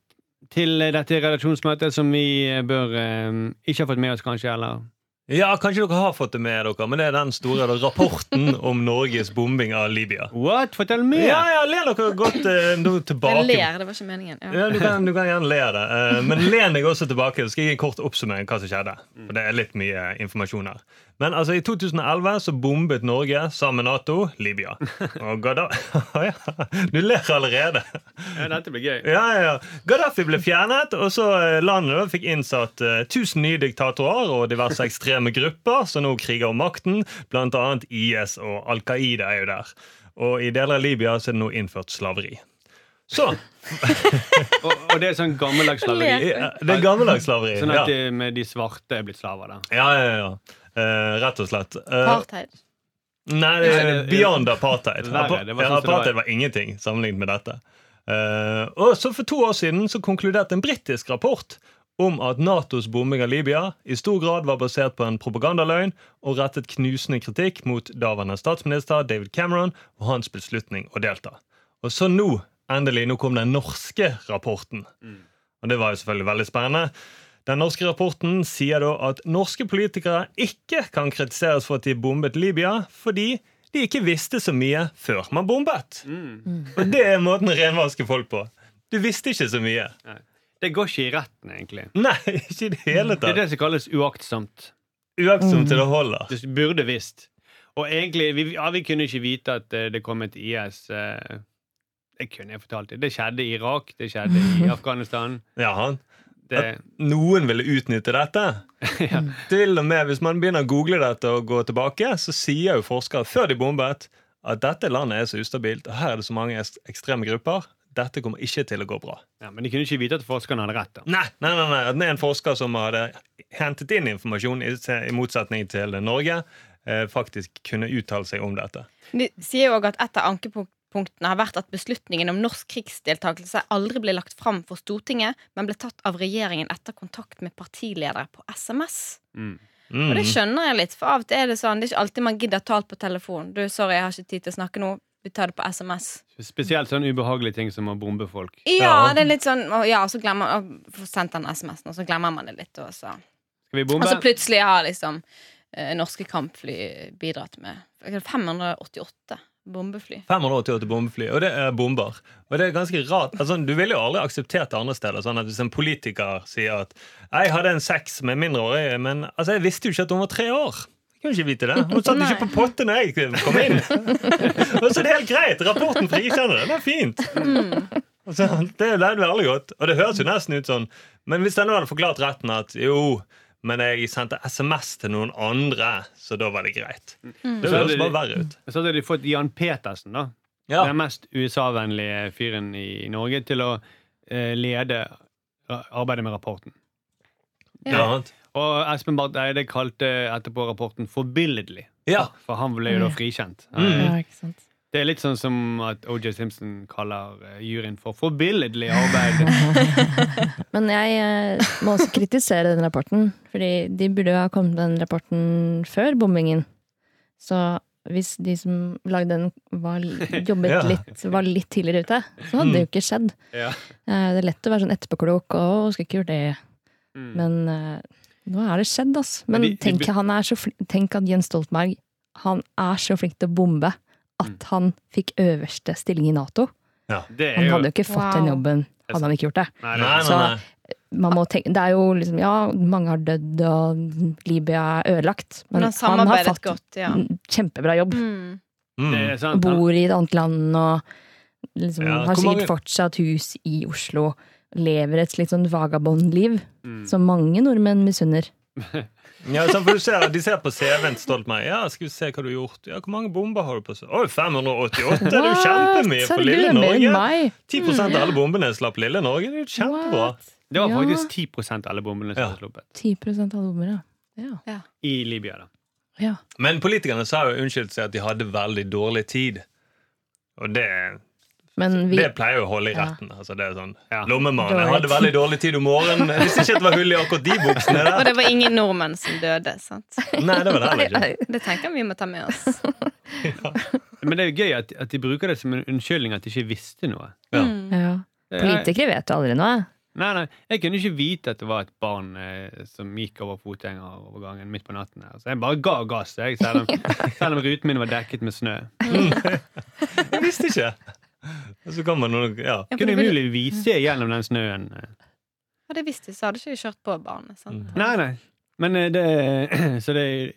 Speaker 5: til dette redaksjonsmøtet som vi eh, bør eh, ikke ha fått med oss, kanskje? eller?
Speaker 3: Ja, kanskje dere har fått det med dere, men det er den store rapporten om Norges bombing av Libya.
Speaker 5: What? Fortell mer!
Speaker 3: Ja, ja, ler dere godt eh, nå tilbake?
Speaker 4: Jeg ler, det var ikke meningen. Ja.
Speaker 3: Ja, du kan, du kan gjerne le av det,
Speaker 4: Mm.
Speaker 3: eh, men len deg også tilbake. Så skal jeg gi en kort oppsummering hva som skjedde. For det er litt mye informasjon her. Men altså, i 2011 så bombet Norge sammen med Nato
Speaker 4: [LAUGHS]
Speaker 3: Libya. Og [LAUGHS] Gaddafi ja. Du ler allerede.
Speaker 5: Ja, dette blir gøy.
Speaker 3: Ja, ja, ja. Gaddafi ble fjernet, og så eh, landet da fikk innsatt eh, tusen nye diktatorer og
Speaker 5: [LAUGHS]
Speaker 3: diverse ekstreme grupper som nå kriger om makten, blant annet IS og Al Qaida er jo der. Og i deler av Libya så er det nå innført slaveri. Så
Speaker 5: [LAUGHS] Og, og det er sånn gammeldags slaveri.
Speaker 3: eh, Det er gammeldags slaveri.
Speaker 5: Sånn
Speaker 3: Ja,
Speaker 5: at de, med de svarte er blitt slaver, da.
Speaker 3: ja, ja. ja. Eh, rett og slett. Eh,
Speaker 4: Apartheid.
Speaker 3: Nei, det
Speaker 5: Nei,
Speaker 3: er
Speaker 5: det-
Speaker 3: beyond apartheid.
Speaker 5: Verre, det var
Speaker 3: Ja,
Speaker 5: sånn som det
Speaker 3: apartheid
Speaker 5: var.
Speaker 3: var ingenting sammenlignet med dette. Eh, og så For to år siden så konkluderte en britisk rapport om at Natos bombing av Libya i stor grad var basert på en propagandaløgn og rettet knusende kritikk mot daværende statsminister David Cameron og hans beslutning å delta. Og så nå, endelig, nå kom den norske rapporten.
Speaker 5: Mm.
Speaker 3: Og det var jo selvfølgelig veldig spennende. Den norske rapporten sier da at norske politikere ikke kan kritiseres for at de bombet Libya, fordi de ikke visste så mye før man bombet.
Speaker 5: Mm.
Speaker 3: Og det er måten å renvaske folk på. Du visste ikke så mye.
Speaker 5: Det går ikke i retten, egentlig.
Speaker 3: Nei, ikke i det
Speaker 5: Det er
Speaker 3: hele
Speaker 5: Mm.
Speaker 3: tatt.
Speaker 5: det som kalles uaktsomt.
Speaker 3: Uaktsomt til det holder.
Speaker 5: Du burde visst. Og egentlig, vi, ja, vi kunne ikke vite at eh, det kom et IS eh, Det kunne jeg fortalt deg. Det skjedde i Irak, det skjedde i Afghanistan.
Speaker 3: Ja, han.
Speaker 5: Det,
Speaker 3: Noen ville utnytte dette.
Speaker 5: [LAUGHS] Ja.
Speaker 3: Til og med Hvis man begynner å google dette og gå tilbake, så sier jo forskere før de bombet at dette landet er så ustabilt, og her er det så mange ek- ekstreme grupper. Dette kommer ikke til å gå bra.
Speaker 5: ja, men de kunne ikke vite at forskerne hadde rett. da.
Speaker 3: Nei, nei, nei, nei. at det er en forsker som hadde hentet inn informasjon i, i motsetning til Norge, eh, faktisk kunne uttale seg om dette.
Speaker 4: De sier jo òg at et av ankepunktene har vært at beslutningen om norsk krigsdeltakelse aldri ble lagt fram for Stortinget, men ble tatt av regjeringen etter kontakt med partiledere på SMS.
Speaker 5: Mm.
Speaker 3: Mm.
Speaker 4: Og det skjønner jeg litt, for av og til er det sånn Det er ikke alltid man gidder talt på telefon. Du, 'Sorry, jeg har ikke tid til å snakke nå. Vi tar det på SMS.'
Speaker 5: Spesielt sånn ubehagelige ting som å bombe folk.
Speaker 4: Ja,
Speaker 3: Ja.
Speaker 4: det er litt sånn å, Ja, og så glemmer man Får sendt den SMS-en, og så glemmer man det litt. Og så,
Speaker 5: Skal vi
Speaker 4: og
Speaker 5: bombe?
Speaker 4: så plutselig har liksom eh, norske kampfly bidratt med 588 bombefly.
Speaker 3: 588 bombefly, og det er bomber. Og det er ganske rart. Altså, du ville jo aldri akseptert det andre steder. Sånn at Hvis en politiker sier at 'Jeg hadde en sex med mindreårige, men altså, jeg visste jo ikke at hun var tre år'. Jeg kunne ikke vite det. Hun satt ikke på potte når jeg kom inn. og så er det helt greit. Rapporten frikjenner det. Det er fint. Altså, det er det er veldig godt. Og det høres jo nesten ut sånn. Men hvis denne hadde forklart retten at jo, men jeg sendte SMS til noen andre, så da var det greit. Det
Speaker 5: Så hadde
Speaker 3: høres
Speaker 5: de-
Speaker 3: bare verre ut.
Speaker 5: Så hadde de fått Jan Petersen, da.
Speaker 3: Ja.
Speaker 5: Den mest USA-vennlige fyren i Norge til å eh, lede ra- arbeidet med rapporten.
Speaker 3: Ja.
Speaker 5: Og Espen Barth Eide kalte etterpå rapporten forbilledlig.
Speaker 3: Ja.
Speaker 5: For han ble jo da frikjent. Eh,
Speaker 3: Mm.
Speaker 2: Ja, ikke sant?
Speaker 5: Det er litt sånn som at OJ Simpson kaller eh, juryen for forbilledlig arbeid.
Speaker 2: Men jeg eh, må også kritisere den rapporten, fordi de burde jo ha kommet med den rapporten før bombingen. Så hvis de som lagde den, var,
Speaker 5: [LAUGHS]
Speaker 2: jobbet
Speaker 3: Ja.
Speaker 2: litt, var litt tidligere ute, så hadde det jo ikke skjedd.
Speaker 5: Mm. Ja.
Speaker 2: Eh, Det er lett å være sånn etterpåklok og skulle ikke gjort det.
Speaker 5: Mm.
Speaker 2: Men eh, nå er det skjedd, ass. Men
Speaker 5: Men de- de
Speaker 2: tenk,
Speaker 5: bu-
Speaker 2: han er så flink, tenk at Jens Stoltenberg han er så flink til å bombe
Speaker 5: Mm.
Speaker 2: at han fikk øverste stilling i Nato.
Speaker 5: Det
Speaker 2: Han
Speaker 5: er jo
Speaker 2: hadde jo ikke fått den
Speaker 4: Wow.
Speaker 2: jobben hadde han ikke gjort det.
Speaker 5: Nei,
Speaker 3: Nei,
Speaker 5: det,
Speaker 3: nei,
Speaker 2: Så-
Speaker 3: nei.
Speaker 2: Man må tenke, det er jo liksom, ja, mange har dødd, og Libya er ødelagt.
Speaker 4: Men
Speaker 2: Men
Speaker 4: han
Speaker 2: han har
Speaker 4: samarbeidet
Speaker 2: fått
Speaker 4: godt, ja.
Speaker 2: en kjempebra jobb.
Speaker 4: Mm.
Speaker 5: det
Speaker 3: Mm.
Speaker 5: er sant. Han,
Speaker 2: Bor i et annet land og liksom,
Speaker 3: Ja,
Speaker 2: har
Speaker 3: hvor
Speaker 2: sikkert
Speaker 3: mange-
Speaker 2: fortsatt hus i Oslo. Lever et slitt sånn vagabondliv
Speaker 5: Mm.
Speaker 2: som mange nordmenn misunner.
Speaker 3: Ja, sånn, for du ser, de ser på CV-en stolt meg. Ja, skal vi se hva du har gjort. Ja, hvor mange bomber har du på seg? Oi, 588! Det er jo kjempemye for lille
Speaker 2: Herregud, mer enn
Speaker 3: Norge.
Speaker 2: meg.
Speaker 3: 10 av alle bombene slapp lille Norge. Det er jo kjempebra.
Speaker 2: What?
Speaker 5: det var
Speaker 2: Ja.
Speaker 5: faktisk 10 av alle bombene som
Speaker 3: Ja.
Speaker 5: ble sluppet.
Speaker 2: 10 av dommere. Ja.
Speaker 5: I Libya, da.
Speaker 2: ja.
Speaker 3: Men politikerne sa jo unnskyld seg at de hadde veldig dårlig tid. Og det,
Speaker 2: Men vi
Speaker 3: det pleier jo å holde i retten. Altså, det er sånn
Speaker 5: Ja.
Speaker 3: Lommemannen
Speaker 2: Dårlig
Speaker 3: jeg hadde
Speaker 2: tid.
Speaker 3: veldig dårlig tid om morgenen. Jeg visste ikke at det var hull i akkurat de buksene
Speaker 4: Og
Speaker 3: der.
Speaker 4: det var ingen nordmenn som
Speaker 2: [LAUGHS]
Speaker 4: døde, sant?
Speaker 3: Nei, det var det heller ikke.
Speaker 4: Det tenker jeg vi må ta med oss.
Speaker 5: Men det er jo gøy at, at de bruker det som en unnskyldning at de ikke visste noe.
Speaker 3: Ja.
Speaker 2: ja.
Speaker 5: Jeg,
Speaker 2: Politikere vet jo aldri noe.
Speaker 5: nei, nei, jeg kunne ikke vite at det var et barn eh, som gikk over fotgjengerovergangen midt på natten. her. Så jeg bare ga gass, jeg, selv,
Speaker 2: [LAUGHS]
Speaker 5: om, selv om ruten min var dekket med snø.
Speaker 3: Jeg visste ikke. Og så kan man noe Ja.
Speaker 4: Ja, for
Speaker 5: Kunne
Speaker 4: det ville-
Speaker 5: umulig vise gjennom den snøen. eh.
Speaker 4: Ja,
Speaker 5: Mm.
Speaker 4: det visste jeg, så hadde ikke jeg kjørt på barnet. Sant?
Speaker 5: [CLEARS THROAT] Nei, nei. Men eh, det, så det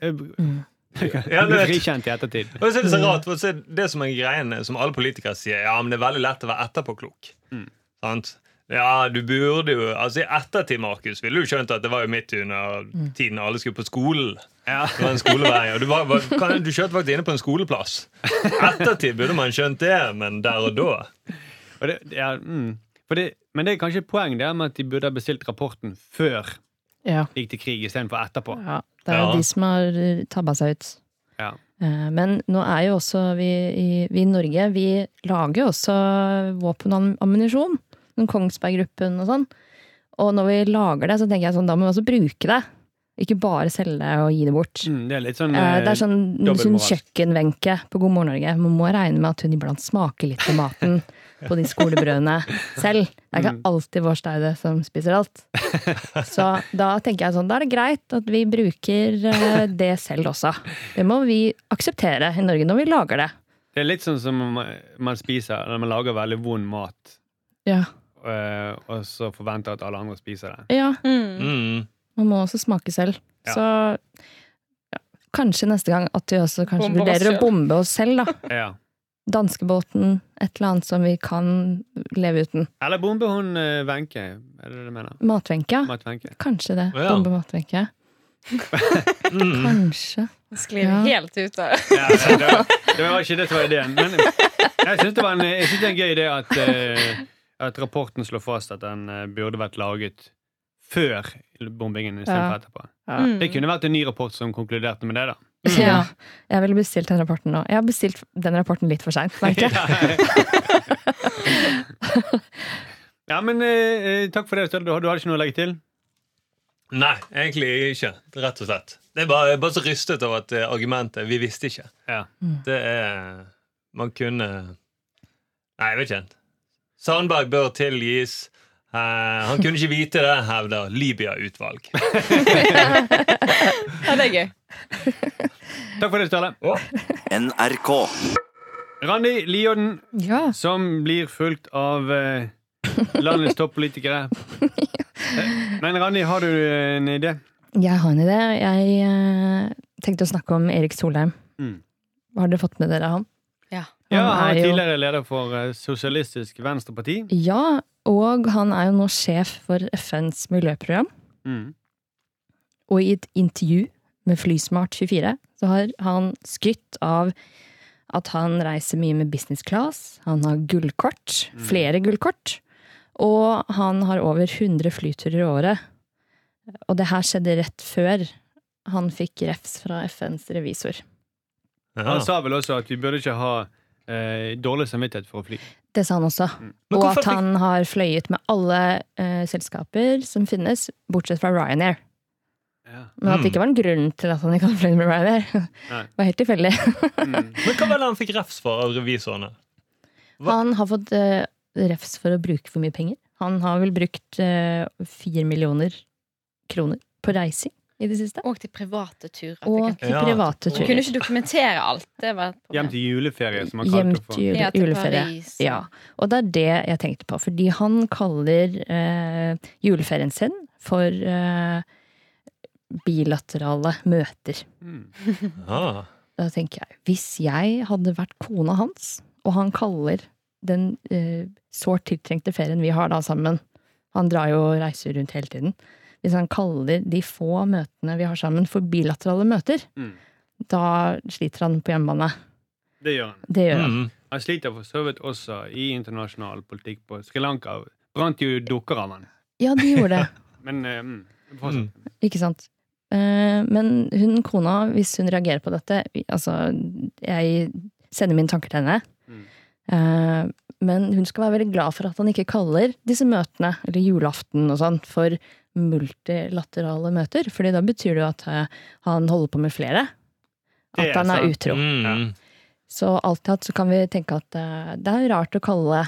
Speaker 5: eh,
Speaker 2: Mm.
Speaker 5: [LAUGHS]
Speaker 3: Ja,
Speaker 5: blir
Speaker 3: men-
Speaker 5: frikjent i ettertid.
Speaker 3: Og så er Det så rart, for så er det det som er greien som alle politikere sier, ja, men det er veldig lett å være etterpåklok. Sant? Ja, du burde jo Altså, i ettertid, Markus, ville du skjønt at det var jo midt under tiden alle skulle på skolen. Det var en skolevei, og du, var, var, kan, du kjørte faktisk inne på en skoleplass. Ettertid burde man skjønt det, men der og da
Speaker 5: Og det, ja, mm. For det, men det er kanskje et poeng der med at de burde ha bestilt rapporten før
Speaker 2: Ja.
Speaker 5: de gikk til krig, istedenfor etterpå.
Speaker 2: ja. Det er
Speaker 3: Ja.
Speaker 2: jo de som har eh, tabba seg ut.
Speaker 5: Ja.
Speaker 2: Eh, Men nå er jo også vi i, vi i Norge Vi lager jo også våpen og am- ammunisjon. Sånn Kongsberg Gruppen og sånn. Og når vi lager det, så tenker jeg sånn, da må vi også bruke det. Ikke bare selge det og gi det bort.
Speaker 5: Mm, det er litt sånn,
Speaker 2: Eh, Det
Speaker 5: eh,
Speaker 2: er sånn, sånn
Speaker 5: dobbeltmoralsk.
Speaker 2: kjøkkenvenke på God morgen Norge. Man må regne med at hun iblant smaker litt på maten på de skolebrødene selv. Det er ikke alltid vår staude som spiser alt. Så da tenker jeg sånn, da er det greit at vi bruker eh, det selv også. Det må vi akseptere i Norge når vi lager det.
Speaker 5: det er litt sånn som om man spiser Når man lager veldig vond mat,
Speaker 2: Ja.
Speaker 5: eh, og så forventer at alle andre spiser den.
Speaker 2: ja
Speaker 4: Mm.
Speaker 3: mm.
Speaker 2: man må også smake selv.
Speaker 5: Ja.
Speaker 2: Så ja, kanskje neste gang at vi også kanskje
Speaker 4: Bombe oss
Speaker 2: vurderer
Speaker 4: selv.
Speaker 2: å bombe oss selv, da.
Speaker 5: Ja.
Speaker 2: Danskebåten, et eller annet som vi kan leve uten.
Speaker 5: Eller bombe hun eh, Wenche, er det det du mener?
Speaker 2: Matvenke, ja.
Speaker 5: Matt Wenche.
Speaker 2: Kanskje det.
Speaker 3: Ja.
Speaker 2: Bombe matvekke.
Speaker 3: Mm.
Speaker 2: Kanskje.
Speaker 4: Sklir
Speaker 2: Ja.
Speaker 4: helt ut av [LAUGHS]
Speaker 5: Ja, ja, det, var, det var ikke det som var ideen. Men jeg syns det, var en- jeg synes det er en gøy idé at, eh, at rapporten slår fast at den eh, burde vært laget før bombingen istedenfor
Speaker 2: Ja.
Speaker 5: etterpå.
Speaker 4: Mm.
Speaker 5: Det kunne vært en ny rapport som konkluderte med det, da.
Speaker 2: Ja. Jeg ville bestilt den rapporten nå. Jeg har bestilt den rapporten litt for seint.
Speaker 5: Ja, men eh, eh, takk for det, Støle. Du, har- du hadde ikke noe å legge til?
Speaker 3: Nei, egentlig ikke. Rett og slett. Det er bare, jeg er bare så rystet over at eh, argumentet 'vi visste ikke'
Speaker 5: Ja.
Speaker 3: Det er Man kunne Nei, jeg vet ikke. Sandberg bør tilgis. Eh, han kunne ikke vite det, hevder Libya-utvalg.
Speaker 4: Ja, det er gøy.
Speaker 5: Takk for det, Støle.
Speaker 1: NRK.
Speaker 5: Randi Liodden,
Speaker 2: Ja.
Speaker 5: som blir fulgt av eh, landets toppolitikere.
Speaker 2: [LAUGHS]
Speaker 5: Eh, Men Randi, har du eh, en idé?
Speaker 2: Jeg har en idé. Jeg eh, tenkte å snakke om Erik Solheim.
Speaker 5: Mm.
Speaker 2: Har dere fått med dere han?
Speaker 4: Ja.
Speaker 2: Han
Speaker 5: Ja, han er
Speaker 2: er jo-
Speaker 5: tidligere leder for eh, Sosialistisk Venstreparti.
Speaker 2: Ja, og han er jo nå sjef for FNs miljøprogram.
Speaker 5: Mm.
Speaker 2: Og i et intervju med Flysmart24 så har han skrytt av at han reiser mye med business class. Han har gullkort.
Speaker 3: Mm.
Speaker 2: Flere gullkort. Og han har over 100 flyturer i året. Og det her skjedde rett før han fikk refs fra FNs revisor.
Speaker 3: Ja.
Speaker 5: Han sa vel også at vi burde ikke ha eh, dårlig samvittighet for å fly.
Speaker 2: Det sa han også.
Speaker 3: Mm. Men
Speaker 2: Og
Speaker 3: hvorfor
Speaker 2: at han har fløyet med alle eh, selskaper som finnes, bortsett fra Ryanair.
Speaker 5: Ja.
Speaker 2: Men at
Speaker 3: Mm.
Speaker 2: det ikke var en grunn til at han ikke hadde fløyet med Ryanair.
Speaker 5: Nei.
Speaker 2: [LAUGHS] Det var helt tilfeldig.
Speaker 5: Mm.
Speaker 3: Men hva var det han fikk refs for av revisorene? Hva-
Speaker 2: Han har fått eh, refs for å bruke for mye penger. Han har vel brukt eh, fire millioner kroner på reising i det siste.
Speaker 4: Og til private turer.
Speaker 2: Og
Speaker 4: Du
Speaker 2: til
Speaker 3: Ja.
Speaker 2: private
Speaker 4: kunne
Speaker 2: turer.
Speaker 4: ikke dokumentere alt. Det var et
Speaker 5: Hjem
Speaker 4: problem.
Speaker 5: til juleferie, som han
Speaker 2: Hjem
Speaker 5: kalte det for.
Speaker 2: til jule,
Speaker 4: Ja, til
Speaker 2: juleferie.
Speaker 4: Paris.
Speaker 2: Ja. Og det er det jeg tenkte på. Fordi han kaller eh, juleferien sin for eh, bilaterale møter.
Speaker 3: Ah.
Speaker 2: Da tenker jeg, hvis jeg hadde vært kona hans, og han kaller den eh, sårt tiltrengte ferien vi har da sammen Han drar jo og reiser rundt hele tiden. Hvis han kaller de få møtene vi har sammen, for bilaterale møter,
Speaker 5: Mm.
Speaker 2: da sliter han på hjemmebane.
Speaker 5: Det gjør han.
Speaker 2: Det gjør han.
Speaker 3: Mm.
Speaker 5: Han sliter for så vidt også i internasjonal politikk på Sri Lanka. Brant jo dukker av han.
Speaker 2: Ja, de gjorde det.
Speaker 5: Men eh, mm, fortsatt.
Speaker 2: Ikke sant? Eh, Men hun kona, hvis hun reagerer på dette Altså, jeg sender mine tanker til henne.
Speaker 5: Mm.
Speaker 2: Eh, Men hun skal være veldig glad for at han ikke kaller disse møtene, eller julaften og sånn, for multilaterale møter. Fordi da betyr det jo at eh, han holder på med flere.
Speaker 5: Det
Speaker 2: At
Speaker 5: er
Speaker 2: han er
Speaker 5: sant.
Speaker 2: utro.
Speaker 3: Mm.
Speaker 2: Så alt i alt så kan vi tenke at eh, det er rart å kalle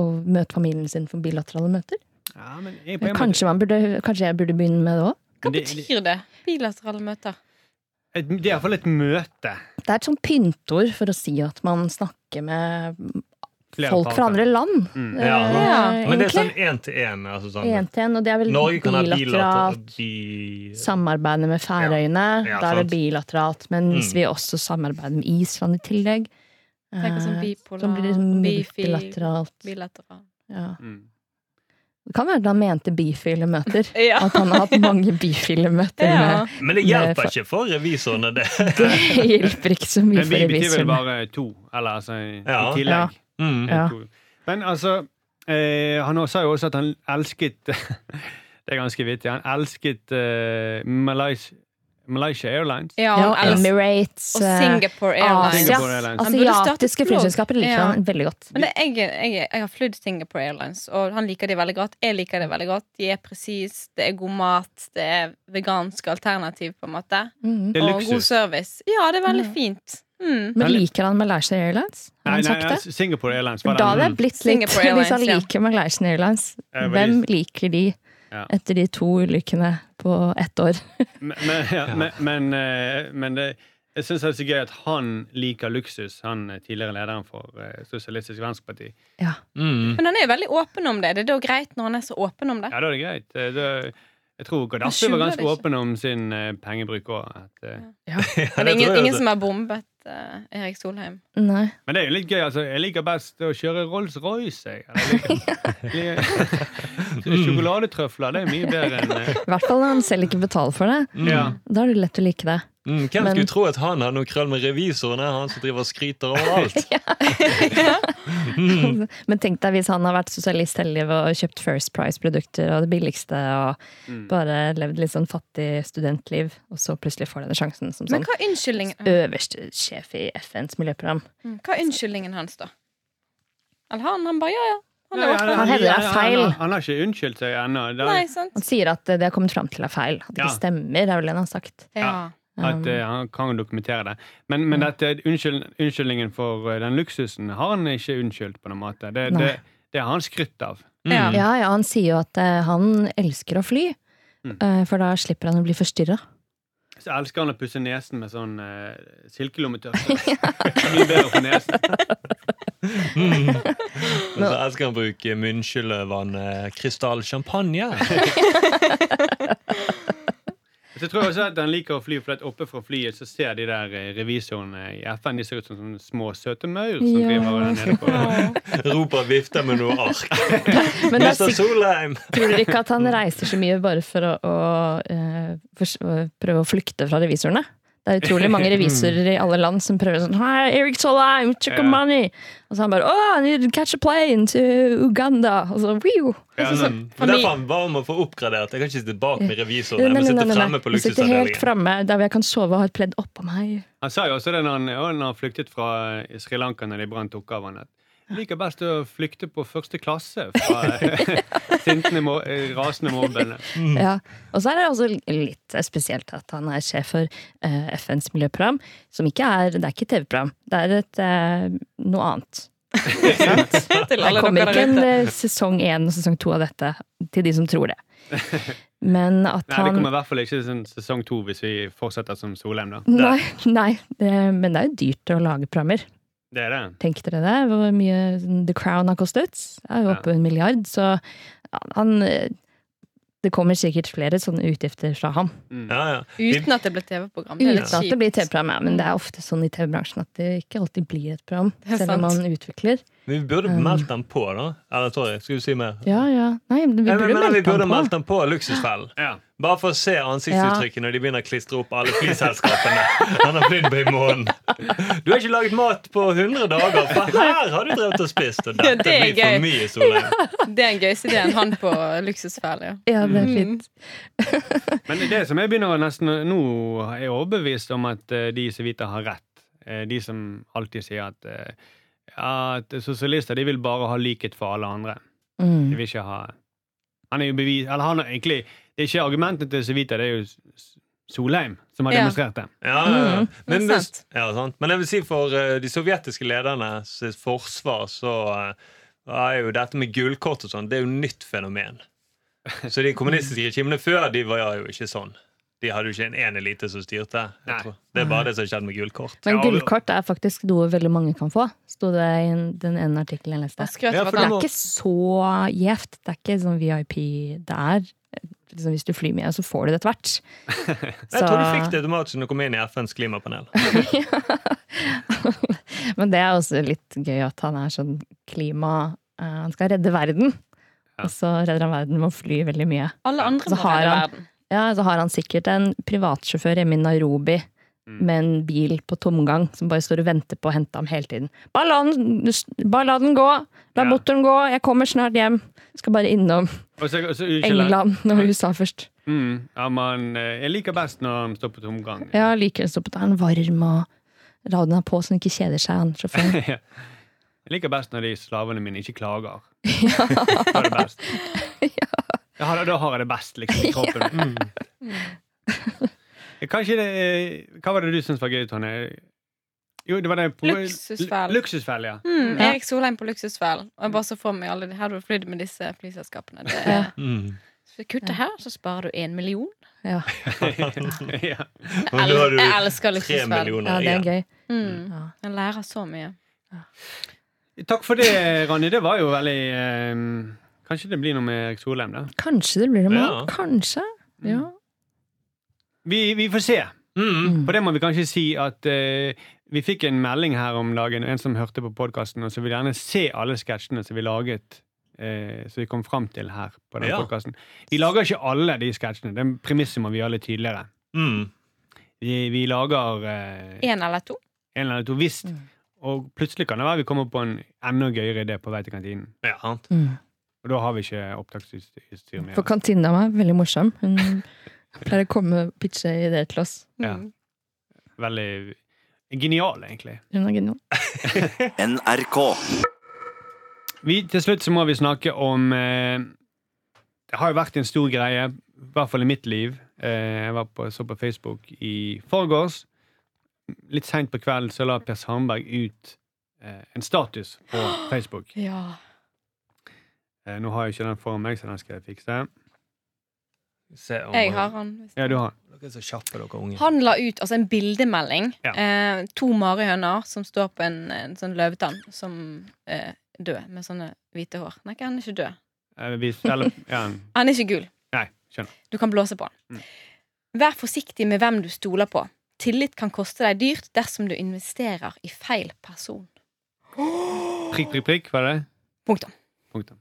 Speaker 2: og møte familien sin for bilaterale møter.
Speaker 5: Ja, men jeg, på
Speaker 2: Men
Speaker 5: en måte,
Speaker 2: kanskje, man burde, kanskje jeg burde begynne med det òg?
Speaker 4: Hva
Speaker 5: det-
Speaker 4: betyr det? Bilaterale møter.
Speaker 5: et, det er iallfall et møte.
Speaker 2: Det er et sånt pyntord for å si at man snakker med
Speaker 5: Flere
Speaker 2: folk
Speaker 5: parter.
Speaker 2: fra andre land.
Speaker 5: Mm.
Speaker 2: eh,
Speaker 3: Ja.
Speaker 2: egentlig.
Speaker 3: Men det er sånn én til én. Altså sånn.
Speaker 2: Én til én, og det er vel
Speaker 3: Norge kan ha
Speaker 2: bilateralt
Speaker 3: bilateralt bi-
Speaker 2: samarbeide med Færøyene.
Speaker 3: Ja,
Speaker 2: da er
Speaker 3: sant.
Speaker 2: det bilateralt. Men hvis
Speaker 3: Mm.
Speaker 2: vi også samarbeider med Island i tillegg,
Speaker 4: Tenk oss sånn
Speaker 2: eh,
Speaker 4: bipolar,
Speaker 2: så blir det liksom
Speaker 4: bifil,
Speaker 2: multilateralt.
Speaker 4: bilateral.
Speaker 2: Ja.
Speaker 5: Mm.
Speaker 2: Det kan være at han mente bifile møter.
Speaker 4: [LAUGHS] Ja.
Speaker 2: At han har hatt mange bifile møter.
Speaker 4: [LAUGHS] Ja.
Speaker 2: Med. [LAUGHS]
Speaker 3: Men det
Speaker 2: Med
Speaker 3: hjelper
Speaker 2: fa-
Speaker 3: ikke for revisorene, det.
Speaker 2: [LAUGHS] Det hjelper ikke så mye
Speaker 5: Men
Speaker 2: for
Speaker 5: vi betyr vel
Speaker 2: revisorene.
Speaker 5: bare to, eller altså i,
Speaker 3: Ja.
Speaker 5: i tillegg.
Speaker 3: Mm.
Speaker 2: Ja.
Speaker 5: To. Men altså eh, Han sa jo også at han elsket [LAUGHS] Det er ganske vittig. Han elsket eh, Malaysia, Malaysia Airlines.
Speaker 4: Ja,
Speaker 2: Ja,
Speaker 4: og ellers-
Speaker 2: Emirates,
Speaker 4: og
Speaker 2: eh,
Speaker 4: Singapore Airlines.
Speaker 5: Singapore
Speaker 2: Asia.
Speaker 5: Airlines.
Speaker 4: Han burde startet
Speaker 2: Asiatiske
Speaker 4: blogg.
Speaker 2: flyselskaper liker
Speaker 4: Ja.
Speaker 2: han veldig godt.
Speaker 4: Men det, jeg, jeg, jeg har flydd Singapore Airlines, og han liker de veldig godt. Jeg liker det veldig godt. De er presis, det er god mat, det er vegansk alternativ, på en måte.
Speaker 2: Mhm.
Speaker 5: Det er
Speaker 4: Og god
Speaker 5: luksus.
Speaker 4: service. Ja, det er veldig fint. Mm.
Speaker 2: Men liker han Malaysia Airlines? Har han
Speaker 5: Nei, nei, altså,
Speaker 2: sagt det?
Speaker 5: Singapore Airlines var
Speaker 2: Da hadde
Speaker 5: den.
Speaker 2: jeg blitt litt
Speaker 4: Singapore Airlines,
Speaker 2: [LAUGHS] Hvis han
Speaker 4: ja.
Speaker 2: liker Malaysia Airlines,
Speaker 5: Eh,
Speaker 2: hvem liker de
Speaker 5: Ja.
Speaker 2: etter de to ulykkene på ett år? [LAUGHS]
Speaker 5: Mm. Men, men, ja, men, men, eh, men det, jeg syns det er så gøy at han liker luksus, han eh, tidligere lederen for eh, Sosialistisk Venstreparti.
Speaker 2: Ja.
Speaker 3: Mm.
Speaker 4: Men han er jo veldig åpen om det. Det er da greit når han er så åpen om det.
Speaker 5: Ja, da er det greit. Eh, det- jeg tror Gaddafi
Speaker 4: skjuler
Speaker 5: var
Speaker 4: det
Speaker 5: ganske
Speaker 4: ikke.
Speaker 5: åpen om sin eh, pengebruk eh, òg.
Speaker 4: Men
Speaker 3: Ja,
Speaker 4: det
Speaker 3: det
Speaker 4: er ingen,
Speaker 3: tror jeg
Speaker 4: ingen
Speaker 3: også.
Speaker 4: som har bombet eh, Erik Solheim.
Speaker 2: Nei.
Speaker 5: Men det er jo litt gøy. altså. Jeg liker best å kjøre Rolls-Royce. jeg.
Speaker 2: [LAUGHS]
Speaker 5: Eller Jeg liker, liker. Sjokoladetrøfler, det er mye bedre enn eh, Mm.
Speaker 2: I hvert fall når han selv ikke betaler for det.
Speaker 5: ja.
Speaker 2: Da er det lett å like det.
Speaker 3: Mm, hvem
Speaker 2: Men-
Speaker 3: skulle tro at han har noe krøll med revisorene? Han som driver og
Speaker 2: [LAUGHS]
Speaker 3: skryter overalt.
Speaker 2: Men tenk deg hvis han har vært sosialist hele livet og kjøpt First Price-produkter og det billigste, og
Speaker 5: Mm.
Speaker 2: bare levd litt sånn fattig studentliv, og så plutselig får denne sjansen som
Speaker 4: Men
Speaker 2: sånn
Speaker 4: hva er unnskyldningen,
Speaker 2: øverste sjef i FNs miljøprogram.
Speaker 4: mm, hva er unnskyldningen hans, da? Eller han? Han bare ja, ja. Han
Speaker 5: Nei,
Speaker 4: er åpen.
Speaker 2: Han hevder det er
Speaker 5: han-
Speaker 2: feil.
Speaker 5: Han, han har ikke unnskyldt seg ennå. Det er-
Speaker 4: Nei, sant?
Speaker 2: Han sier at det har kommet fram til er feil. At det
Speaker 5: Ja.
Speaker 2: ikke stemmer, er vel det han har sagt.
Speaker 4: Ja.
Speaker 5: At eh, han kan dokumentere det. Men, men dette, unnskyld, unnskyldningen for eh, den luksusen har han ikke unnskyldt på noen måte. Det,
Speaker 2: Nei.
Speaker 5: det, det har han skrytt av.
Speaker 3: Mm.
Speaker 4: Ja.
Speaker 2: Ja, ja, han sier jo at eh, han elsker å fly,
Speaker 5: Mm.
Speaker 2: eh, for da slipper han å bli forstyrra.
Speaker 5: Så elsker han å pusse nesen med sånn uh,
Speaker 2: [LAUGHS]
Speaker 5: silkelommetørkle. Det blir bedre for nesen.
Speaker 3: Mm. Og så elsker han å bruke munnskyllevann eh, krystallsjampanje.
Speaker 5: Så tror jeg også at han liker å fly, for at oppe fra flyet så ser de der eh, revisorene i FN de ser ut som sånne små, søte maur som
Speaker 2: [LAUGHS] Ja.
Speaker 5: driver der nede på
Speaker 3: Roper og vifter med noe
Speaker 2: [LAUGHS]
Speaker 3: ark.
Speaker 2: Men det er
Speaker 3: Mr.
Speaker 2: sikkert,
Speaker 3: Solheim!
Speaker 2: tror dere ikke at han reiser så mye bare for å, å eh, fors- å prøve å flykte fra revisorene? Det er utrolig mange revisorer i alle land som prøver sånn Hi, Eric Solheim, check
Speaker 5: Ja.
Speaker 2: on money! Og så han bare Oh, I need to catch a plane to Uganda! Og så Wiu!
Speaker 5: Ja,
Speaker 3: Mm. Men Derfor er han ba om å få oppgradert. Jeg kan ikke sitte bak med revisorene,
Speaker 2: Nei, nei,
Speaker 3: men
Speaker 2: nei,
Speaker 3: sitte
Speaker 2: nei,
Speaker 3: fremme på
Speaker 2: nei. Jeg sitter helt
Speaker 3: luksusavdelingen.
Speaker 2: framme der hvor jeg kan sove og ha et pledd oppå meg.
Speaker 5: Han sa jo også det når han, og når han flyktet fra eh, Sri Lanka når de brant oppgaven. at Liker best å flykte på første klasse fra
Speaker 2: [LAUGHS]
Speaker 5: eh, sintende, mo eh, rasende mobbene.
Speaker 2: Ja. Og så er det også litt spesielt at han er sjef for eh, FNs miljøprogram, som ikke er Det er ikke et TV-program, det er et, eh, noe annet.
Speaker 4: Til
Speaker 2: Det
Speaker 4: alle
Speaker 2: kommer
Speaker 4: dere
Speaker 2: ikke
Speaker 4: der
Speaker 2: en
Speaker 4: ute.
Speaker 2: eh, sesong én og sesong to av dette til de som tror det.
Speaker 5: [LAUGHS]
Speaker 2: Men at
Speaker 5: Nei, det
Speaker 2: han
Speaker 5: kommer i hvert fall ikke sånn sesong to hvis vi fortsetter som Solheim, da.
Speaker 2: [LAUGHS] Nei, nei det, men det er jo dyrt å lage programmer.
Speaker 5: Det er det.
Speaker 2: Tenk dere det, hvor mye The Crown har kostet. Det er jo oppe en milliard, så han eh, Det kommer sikkert flere sånne utgifter fra ham.
Speaker 3: Ja, ja. Vi-
Speaker 4: Uten at det ble TV-program. Det er
Speaker 2: Uten
Speaker 4: litt
Speaker 2: at det
Speaker 4: kjipt.
Speaker 2: blir TV-program, ja, men det er ofte sånn i TV-bransjen at det ikke alltid blir et program.
Speaker 4: Det er
Speaker 2: Selv om
Speaker 4: sant.
Speaker 2: man utvikler.
Speaker 3: Vi burde
Speaker 2: Um.
Speaker 3: meldt han på, da. Eller sorry, skal du si mer?
Speaker 2: Ja, ja. Nei, men vi
Speaker 3: Nei, men,
Speaker 2: burde
Speaker 3: men, vi
Speaker 2: meldt
Speaker 3: burde
Speaker 2: ham på.
Speaker 3: meldt han på Luksusfellen.
Speaker 5: Ja.
Speaker 3: Bare for å se ansiktsuttrykket når de begynner å klistre opp alle
Speaker 2: [LAUGHS]
Speaker 3: flyselskapene. Han har flydd på i måneden. Du har ikke laget mat på 100 dager, for her har du drevet og spist. Og
Speaker 4: Ja,
Speaker 3: dette
Speaker 4: det er
Speaker 3: blir for
Speaker 4: gøy.
Speaker 3: mye, Solheim.
Speaker 4: Det er en gøyeste idé enn han på Luksusfelle. Ja.
Speaker 2: Ja, det er fint.
Speaker 5: Men det som jeg begynner å nesten nå er jeg overbevist om at eh, de som vita har rett. Eh, De som alltid sier at, eh, at sosialister de vil bare ha likhet for alle andre.
Speaker 2: Mm.
Speaker 5: De vil ikke ha Han er jo bevis Eller han er egentlig Det er ikke argumentet til Civita, det er jo S- Solheim som har
Speaker 4: Ja.
Speaker 5: demonstrert det.
Speaker 3: Ja, ja, ja.
Speaker 2: Mm,
Speaker 3: Men,
Speaker 4: det er
Speaker 3: hvis-
Speaker 4: sant.
Speaker 3: ja, sant. Men jeg vil si for eh, de sovjetiske lederne sitt forsvar, så eh, er jo dette med gullkort og sånn, det er jo nytt fenomen. Så de kommunistiske regimene før, de var jo ikke sånn. De hadde jo ikke en én elite som styrte.
Speaker 5: Nei.
Speaker 3: Jeg tror. Det er bare det som har skjedd med gullkort.
Speaker 2: Men
Speaker 5: Ja, og-
Speaker 2: gullkort er faktisk noe veldig mange kan få, sto det i en- den ene artikkelen jeg leste.
Speaker 4: Og skrøt
Speaker 3: Ja,
Speaker 4: av
Speaker 3: for
Speaker 2: Det
Speaker 4: at
Speaker 3: du
Speaker 4: han
Speaker 2: er
Speaker 3: må-
Speaker 2: ikke så gjevt. Det er ikke sånn VIP det er. Liksom, hvis du flyr mye, så får du det etter hvert.
Speaker 3: [LAUGHS] Jeg tror de fikk det automatisk når de kom inn i FNs klimapanel.
Speaker 2: Men det er også litt gøy at han er sånn klima... eh, han skal redde verden. Og så redder han verden med å fly veldig mye.
Speaker 4: Alle andre
Speaker 2: Så
Speaker 4: må
Speaker 2: har
Speaker 4: redde
Speaker 2: han-
Speaker 4: verden.
Speaker 2: Ja, Så har han sikkert en privatsjåfør hjemme i Nairobi med en bil på tomgang som bare står og venter på å hente ham hele tiden. Bare la den, bare la den gå! La
Speaker 5: Ja.
Speaker 2: motoren gå! Jeg kommer snart hjem! Skal bare innom
Speaker 5: Og så, og så, unnskyld,
Speaker 2: England og USA først.
Speaker 5: Mm, ja, man, eh, jeg liker best når han står på tomgang.
Speaker 2: Ja, likevel så er han varm, og radioen er på, så han ikke kjeder seg, han sjåføren.
Speaker 5: Jeg liker best når de slavene mine ikke klager. Da er det best. Da har- da har jeg det best, liksom, i kroppen. Mm. Kanskje det eh, Hva var det du syntes var gøy, Tonje? Jo, det var det
Speaker 4: Luksusfell.
Speaker 5: Luksusfell, ja. [LAUGHS]
Speaker 4: Mm,
Speaker 2: Ja.
Speaker 4: Erik Solheim på luksusfellen. Og jeg bare så for meg alle de her du har flydd med disse flyselskapene. Det
Speaker 2: Ja.
Speaker 4: er,
Speaker 3: Mm. [LAUGHS]
Speaker 4: så kutter her, så sparer du én million.
Speaker 2: Ja,
Speaker 5: ja.
Speaker 3: Men nå har du
Speaker 4: jeg elsker
Speaker 3: tre
Speaker 4: luksusfell.
Speaker 2: ja,
Speaker 3: millioner
Speaker 2: det er
Speaker 3: igjen.
Speaker 2: gøy.
Speaker 4: Mm.
Speaker 2: Ja.
Speaker 4: Jeg lærer så mye.
Speaker 5: Takk for det, Ronny. Det var jo veldig eh, Kanskje det blir noe med Erik Solheim, da.
Speaker 2: Kanskje det blir det med
Speaker 3: Ja.
Speaker 2: han. Kanskje. Ja.
Speaker 5: Vi, vi får se.
Speaker 3: Mm.
Speaker 5: På det må vi kanskje si at eh, vi fikk en melding her om dagen, en som hørte på podkasten, og som vil gjerne se alle sketsjene som vi laget. eh, som vi kom fram til her på den
Speaker 3: Ja.
Speaker 5: podcasten. Vi lager ikke alle de sketsjene. Den premisset må vi gjøre litt tydeligere.
Speaker 3: Mm.
Speaker 5: Vi, vi lager eh, en
Speaker 4: Én eller to.
Speaker 5: eller to visst,
Speaker 3: Mm.
Speaker 5: og plutselig kan det være vi kommer på en enda gøyere idé på vei til kantinen.
Speaker 3: Ja, sant.
Speaker 2: Mm.
Speaker 5: Og da har vi ikke opptaksutstyr med.
Speaker 2: For
Speaker 5: oss.
Speaker 2: kantina mi er veldig morsom. Hun [LAUGHS] pleier å komme og pitche ideer til oss.
Speaker 5: Ja.
Speaker 4: Mm.
Speaker 5: Veldig genial, egentlig.
Speaker 2: Hun er genial.
Speaker 1: NRK.
Speaker 5: Vi, til slutt så må vi snakke om eh, Det har jo vært en stor greie, i hvert fall i mitt liv. Eh, jeg var på, så på Facebook i forgårs. Litt seint på kvelden så la Per Sandberg ut eh, en status på Facebook.
Speaker 4: Ja.
Speaker 5: Eh, nå har jeg ikke den foran meg, så den skal jeg fikse.
Speaker 3: Se om
Speaker 4: Jeg har han. hvis-
Speaker 5: Ja, du har den.
Speaker 3: Dere er så kjappe, dere unge.
Speaker 4: Han la ut altså en bildemelding.
Speaker 5: Ja.
Speaker 4: Eh, to marihøner som står på en, en sånn løvetann som eh, død, med sånne hvite hår. Nei, ikke, han er ikke død.
Speaker 5: Eh, vi, eller, ja,
Speaker 4: Han er ikke gul.
Speaker 5: nei, skjønner.
Speaker 4: Du kan blåse på
Speaker 5: Mm.
Speaker 4: den. Vær forsiktig med hvem du stoler på. Tillit kan koste deg dyrt dersom du investerer i feil person.
Speaker 5: Prikk, prikk, prikk, var det?
Speaker 4: Punktum.
Speaker 5: Punktum.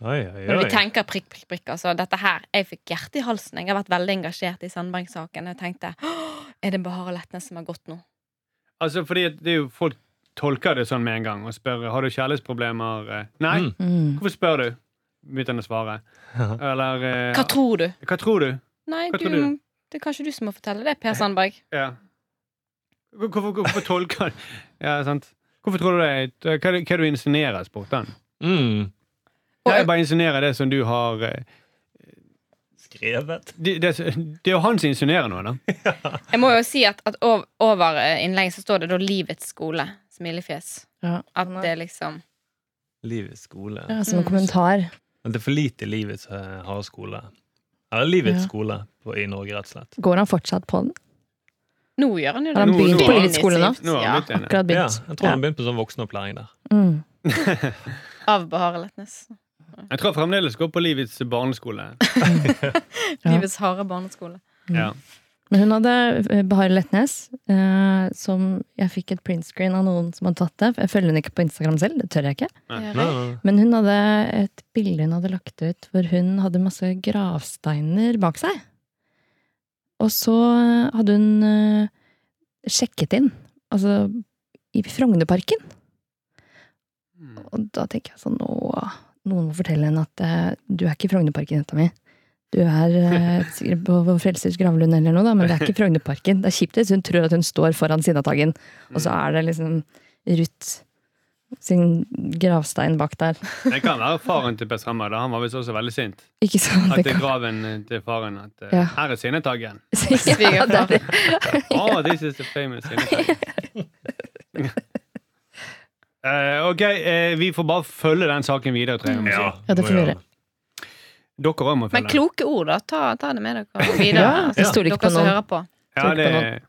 Speaker 3: Oi, oi,
Speaker 4: Når
Speaker 3: oi.
Speaker 4: vi tenker prikk, prikk, prikk, altså dette her Jeg fikk hjertet i halsen. Jeg har vært veldig engasjert i Sandberg-saken. Jeg tenkte «Åh, er det bare Letnes som har gått nå?
Speaker 5: Altså, fordi at det er jo folk tolker det sånn med en gang og spør har du kjærlighetsproblemer. Eh, Nei.
Speaker 3: Mm.
Speaker 2: Mm.
Speaker 5: Hvorfor spør du? Begynte han å svare. Eller eh,
Speaker 4: Hva tror du?
Speaker 5: Hva tror du?
Speaker 4: Nei,
Speaker 5: Hva
Speaker 4: du,
Speaker 5: tror du?
Speaker 4: det er kanskje du som må fortelle det, Per Sandberg.
Speaker 5: Ja. Hvor- Hvorfor, hvorfor tolker han Ja, sant. Hvorfor tror du det? er- Hva, er det- hva er det du insinuerer, spurte han.
Speaker 3: Mm.
Speaker 4: Og-
Speaker 5: Nei, Jeg bare insinuerer det som du har eh,
Speaker 3: Skrevet.
Speaker 5: Det, det, det er jo han som insinuerer noe, da.
Speaker 4: Jeg må jo si at, at ov- over eh, innlegget så står det da 'Livets skole'. Smilefjes.
Speaker 2: Ja.
Speaker 4: At det liksom
Speaker 3: Livets skole.
Speaker 2: Ja, som en kommentar.
Speaker 3: Men Det er for lite livets eh, harde skole. Eller livets
Speaker 2: Ja.
Speaker 3: skole på, i Norge, rett og slett.
Speaker 2: Går han fortsatt på den?
Speaker 4: Nå gjør han jo
Speaker 2: Har han
Speaker 5: Nå-
Speaker 2: begynt
Speaker 5: nå-
Speaker 2: på livets skole nå?
Speaker 5: Nå har
Speaker 4: Ja.
Speaker 5: han blitt enig.
Speaker 2: Akkurat
Speaker 3: Ja,
Speaker 2: begynt.
Speaker 3: jeg tror han begynte på sånn voksenopplæring der.
Speaker 2: Mm.
Speaker 4: Av Bahare Letnes.
Speaker 5: Jeg tror fremdeles går på livets
Speaker 2: [LAUGHS]
Speaker 5: barneskole.
Speaker 2: Ja.
Speaker 4: Livets harde barneskole.
Speaker 5: Ja.
Speaker 2: Men hun hadde eh, Bahare Letnes, eh, som jeg fikk et printscreen av noen som hadde tatt det. Jeg følger henne ikke på Instagram selv, det tør jeg ikke.
Speaker 5: Nei.
Speaker 4: Gjør jeg? [LAUGHS]
Speaker 2: Men hun hadde et bilde hun hadde lagt ut hvor hun hadde masse gravsteiner bak seg. Og så hadde hun eh, sjekket inn, altså i Frognerparken. Og da tenker jeg sånn nå Noen må fortelle henne at eh, du er ikke i Frognerparken, jenta mi. Du er eh, sikkert på på Frelsers gravlund eller noe, da, men det er ikke Frognerparken. Det er kjipt hvis hun tror at hun står foran Sinnataggen, og så er det liksom Ruth sin gravstein bak der.
Speaker 5: Det kan være faren til Per Sandberg. da. Han var visst også veldig sint.
Speaker 2: Ikke sant?
Speaker 5: At
Speaker 2: Det
Speaker 5: det er
Speaker 2: kan...
Speaker 5: graven til faren at eh,
Speaker 2: Ja.
Speaker 5: Her er sinnetaggen.
Speaker 2: ja, det er det.
Speaker 5: Oh, this is the famous sinnetaggen.
Speaker 4: [LAUGHS]
Speaker 5: Eh, ok, eh, vi får bare følge den saken videre. Tror jeg.
Speaker 2: Ja, det får vi gjøre.
Speaker 5: Dere òg må følge
Speaker 4: Mm. Men kloke ord, da. Ta, ta det med dere videre.
Speaker 2: Ja, jeg
Speaker 4: altså,
Speaker 2: stoler ikke på
Speaker 4: dere som
Speaker 2: noen.
Speaker 4: hører på.
Speaker 5: Ja, det er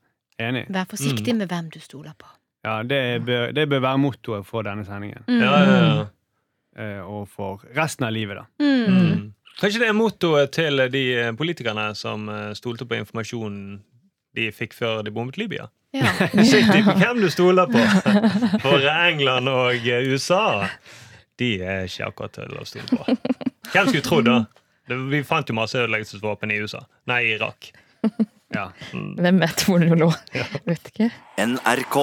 Speaker 5: enig.
Speaker 4: Vær
Speaker 5: Mm.
Speaker 4: forsiktig med hvem du stoler på.
Speaker 5: Ja, det, bør, det bør være mottoet for denne sendingen.
Speaker 4: Mm.
Speaker 3: Ja, ja, ja.
Speaker 5: eh, Og for resten av livet, da.
Speaker 4: Mm.
Speaker 3: Mm. Kanskje det er mottoet til de eh, politikerne som eh, stolte på informasjonen de fikk før de bombet Libya.
Speaker 5: [LAUGHS]
Speaker 4: Ja.
Speaker 5: Eh,
Speaker 3: Sitt i på hvem du stoler på! For England og eh, USA, de er ikke akkurat til å stole på. Hvem skulle trodd da? Det, vi fant jo masse ødeleggelsesvåpen i USA. Nei, i Irak.
Speaker 5: Ja.
Speaker 2: Hvem vet hvor det lå? Vet ikke.
Speaker 1: NRK.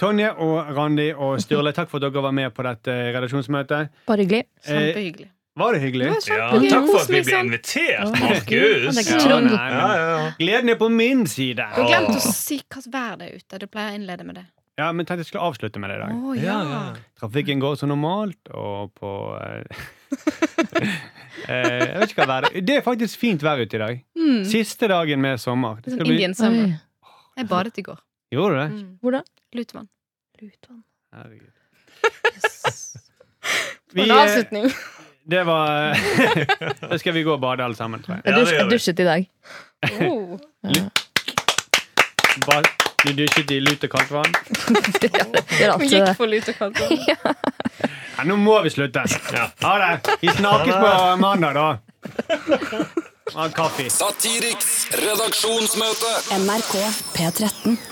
Speaker 5: Tonje og Randi og Sturle, takk for at dere var med på dette eh, redaksjonsmøtet.
Speaker 2: Bare hyggelig.
Speaker 5: Eh,
Speaker 4: Kjempehyggelig.
Speaker 5: var det hyggelig?
Speaker 3: Ja, takk for at vi ble invitert, Markus!
Speaker 2: Det er ikke
Speaker 5: Ja,
Speaker 2: Trond.
Speaker 5: nei,
Speaker 3: Ja,
Speaker 5: men
Speaker 3: ja, ja.
Speaker 5: Gleden er på min side.
Speaker 4: Du glemte å si hvilket vær det er ute. Du pleier å innlede med det.
Speaker 5: Ja, men tenkte jeg skulle avslutte med det i
Speaker 4: Å
Speaker 5: dag.
Speaker 4: ja.
Speaker 5: Trafikken går som normalt, og på eh, [LAUGHS] eh, Jeg vet ikke hva været Det er faktisk fint vær ute i dag.
Speaker 4: Mm.
Speaker 5: Siste dagen med sommer. Det
Speaker 4: Sånn
Speaker 5: skal bli...
Speaker 4: Indian summer.
Speaker 2: Oi.
Speaker 4: Jeg badet i går.
Speaker 5: Gjorde du det?
Speaker 4: Mm.
Speaker 2: Hvor da?
Speaker 4: Lutvann.
Speaker 5: Herregud.
Speaker 4: Det var
Speaker 5: Vi,
Speaker 4: en
Speaker 5: eh,
Speaker 4: avslutning.
Speaker 5: det var [LAUGHS] Da skal vi gå og bade alle sammen, tror jeg.
Speaker 2: Jeg,
Speaker 3: Ja, det
Speaker 2: dusj,
Speaker 3: gjør
Speaker 2: jeg
Speaker 3: vi.
Speaker 2: dusjet i dag.
Speaker 4: [LAUGHS] Oh.
Speaker 5: Bad. Du dusjet i lut og kaldt vann?
Speaker 2: Det gjør
Speaker 4: Vi
Speaker 2: alltid
Speaker 4: gikk
Speaker 2: det.
Speaker 4: for lut og kaldt.
Speaker 5: Ja, nå må vi slutte.
Speaker 3: Ja.
Speaker 5: Ha det. Vi snakkes på mandag, da. Ha en kaffe.
Speaker 6: Satiriks redaksjonsmøte.
Speaker 7: NRK P13.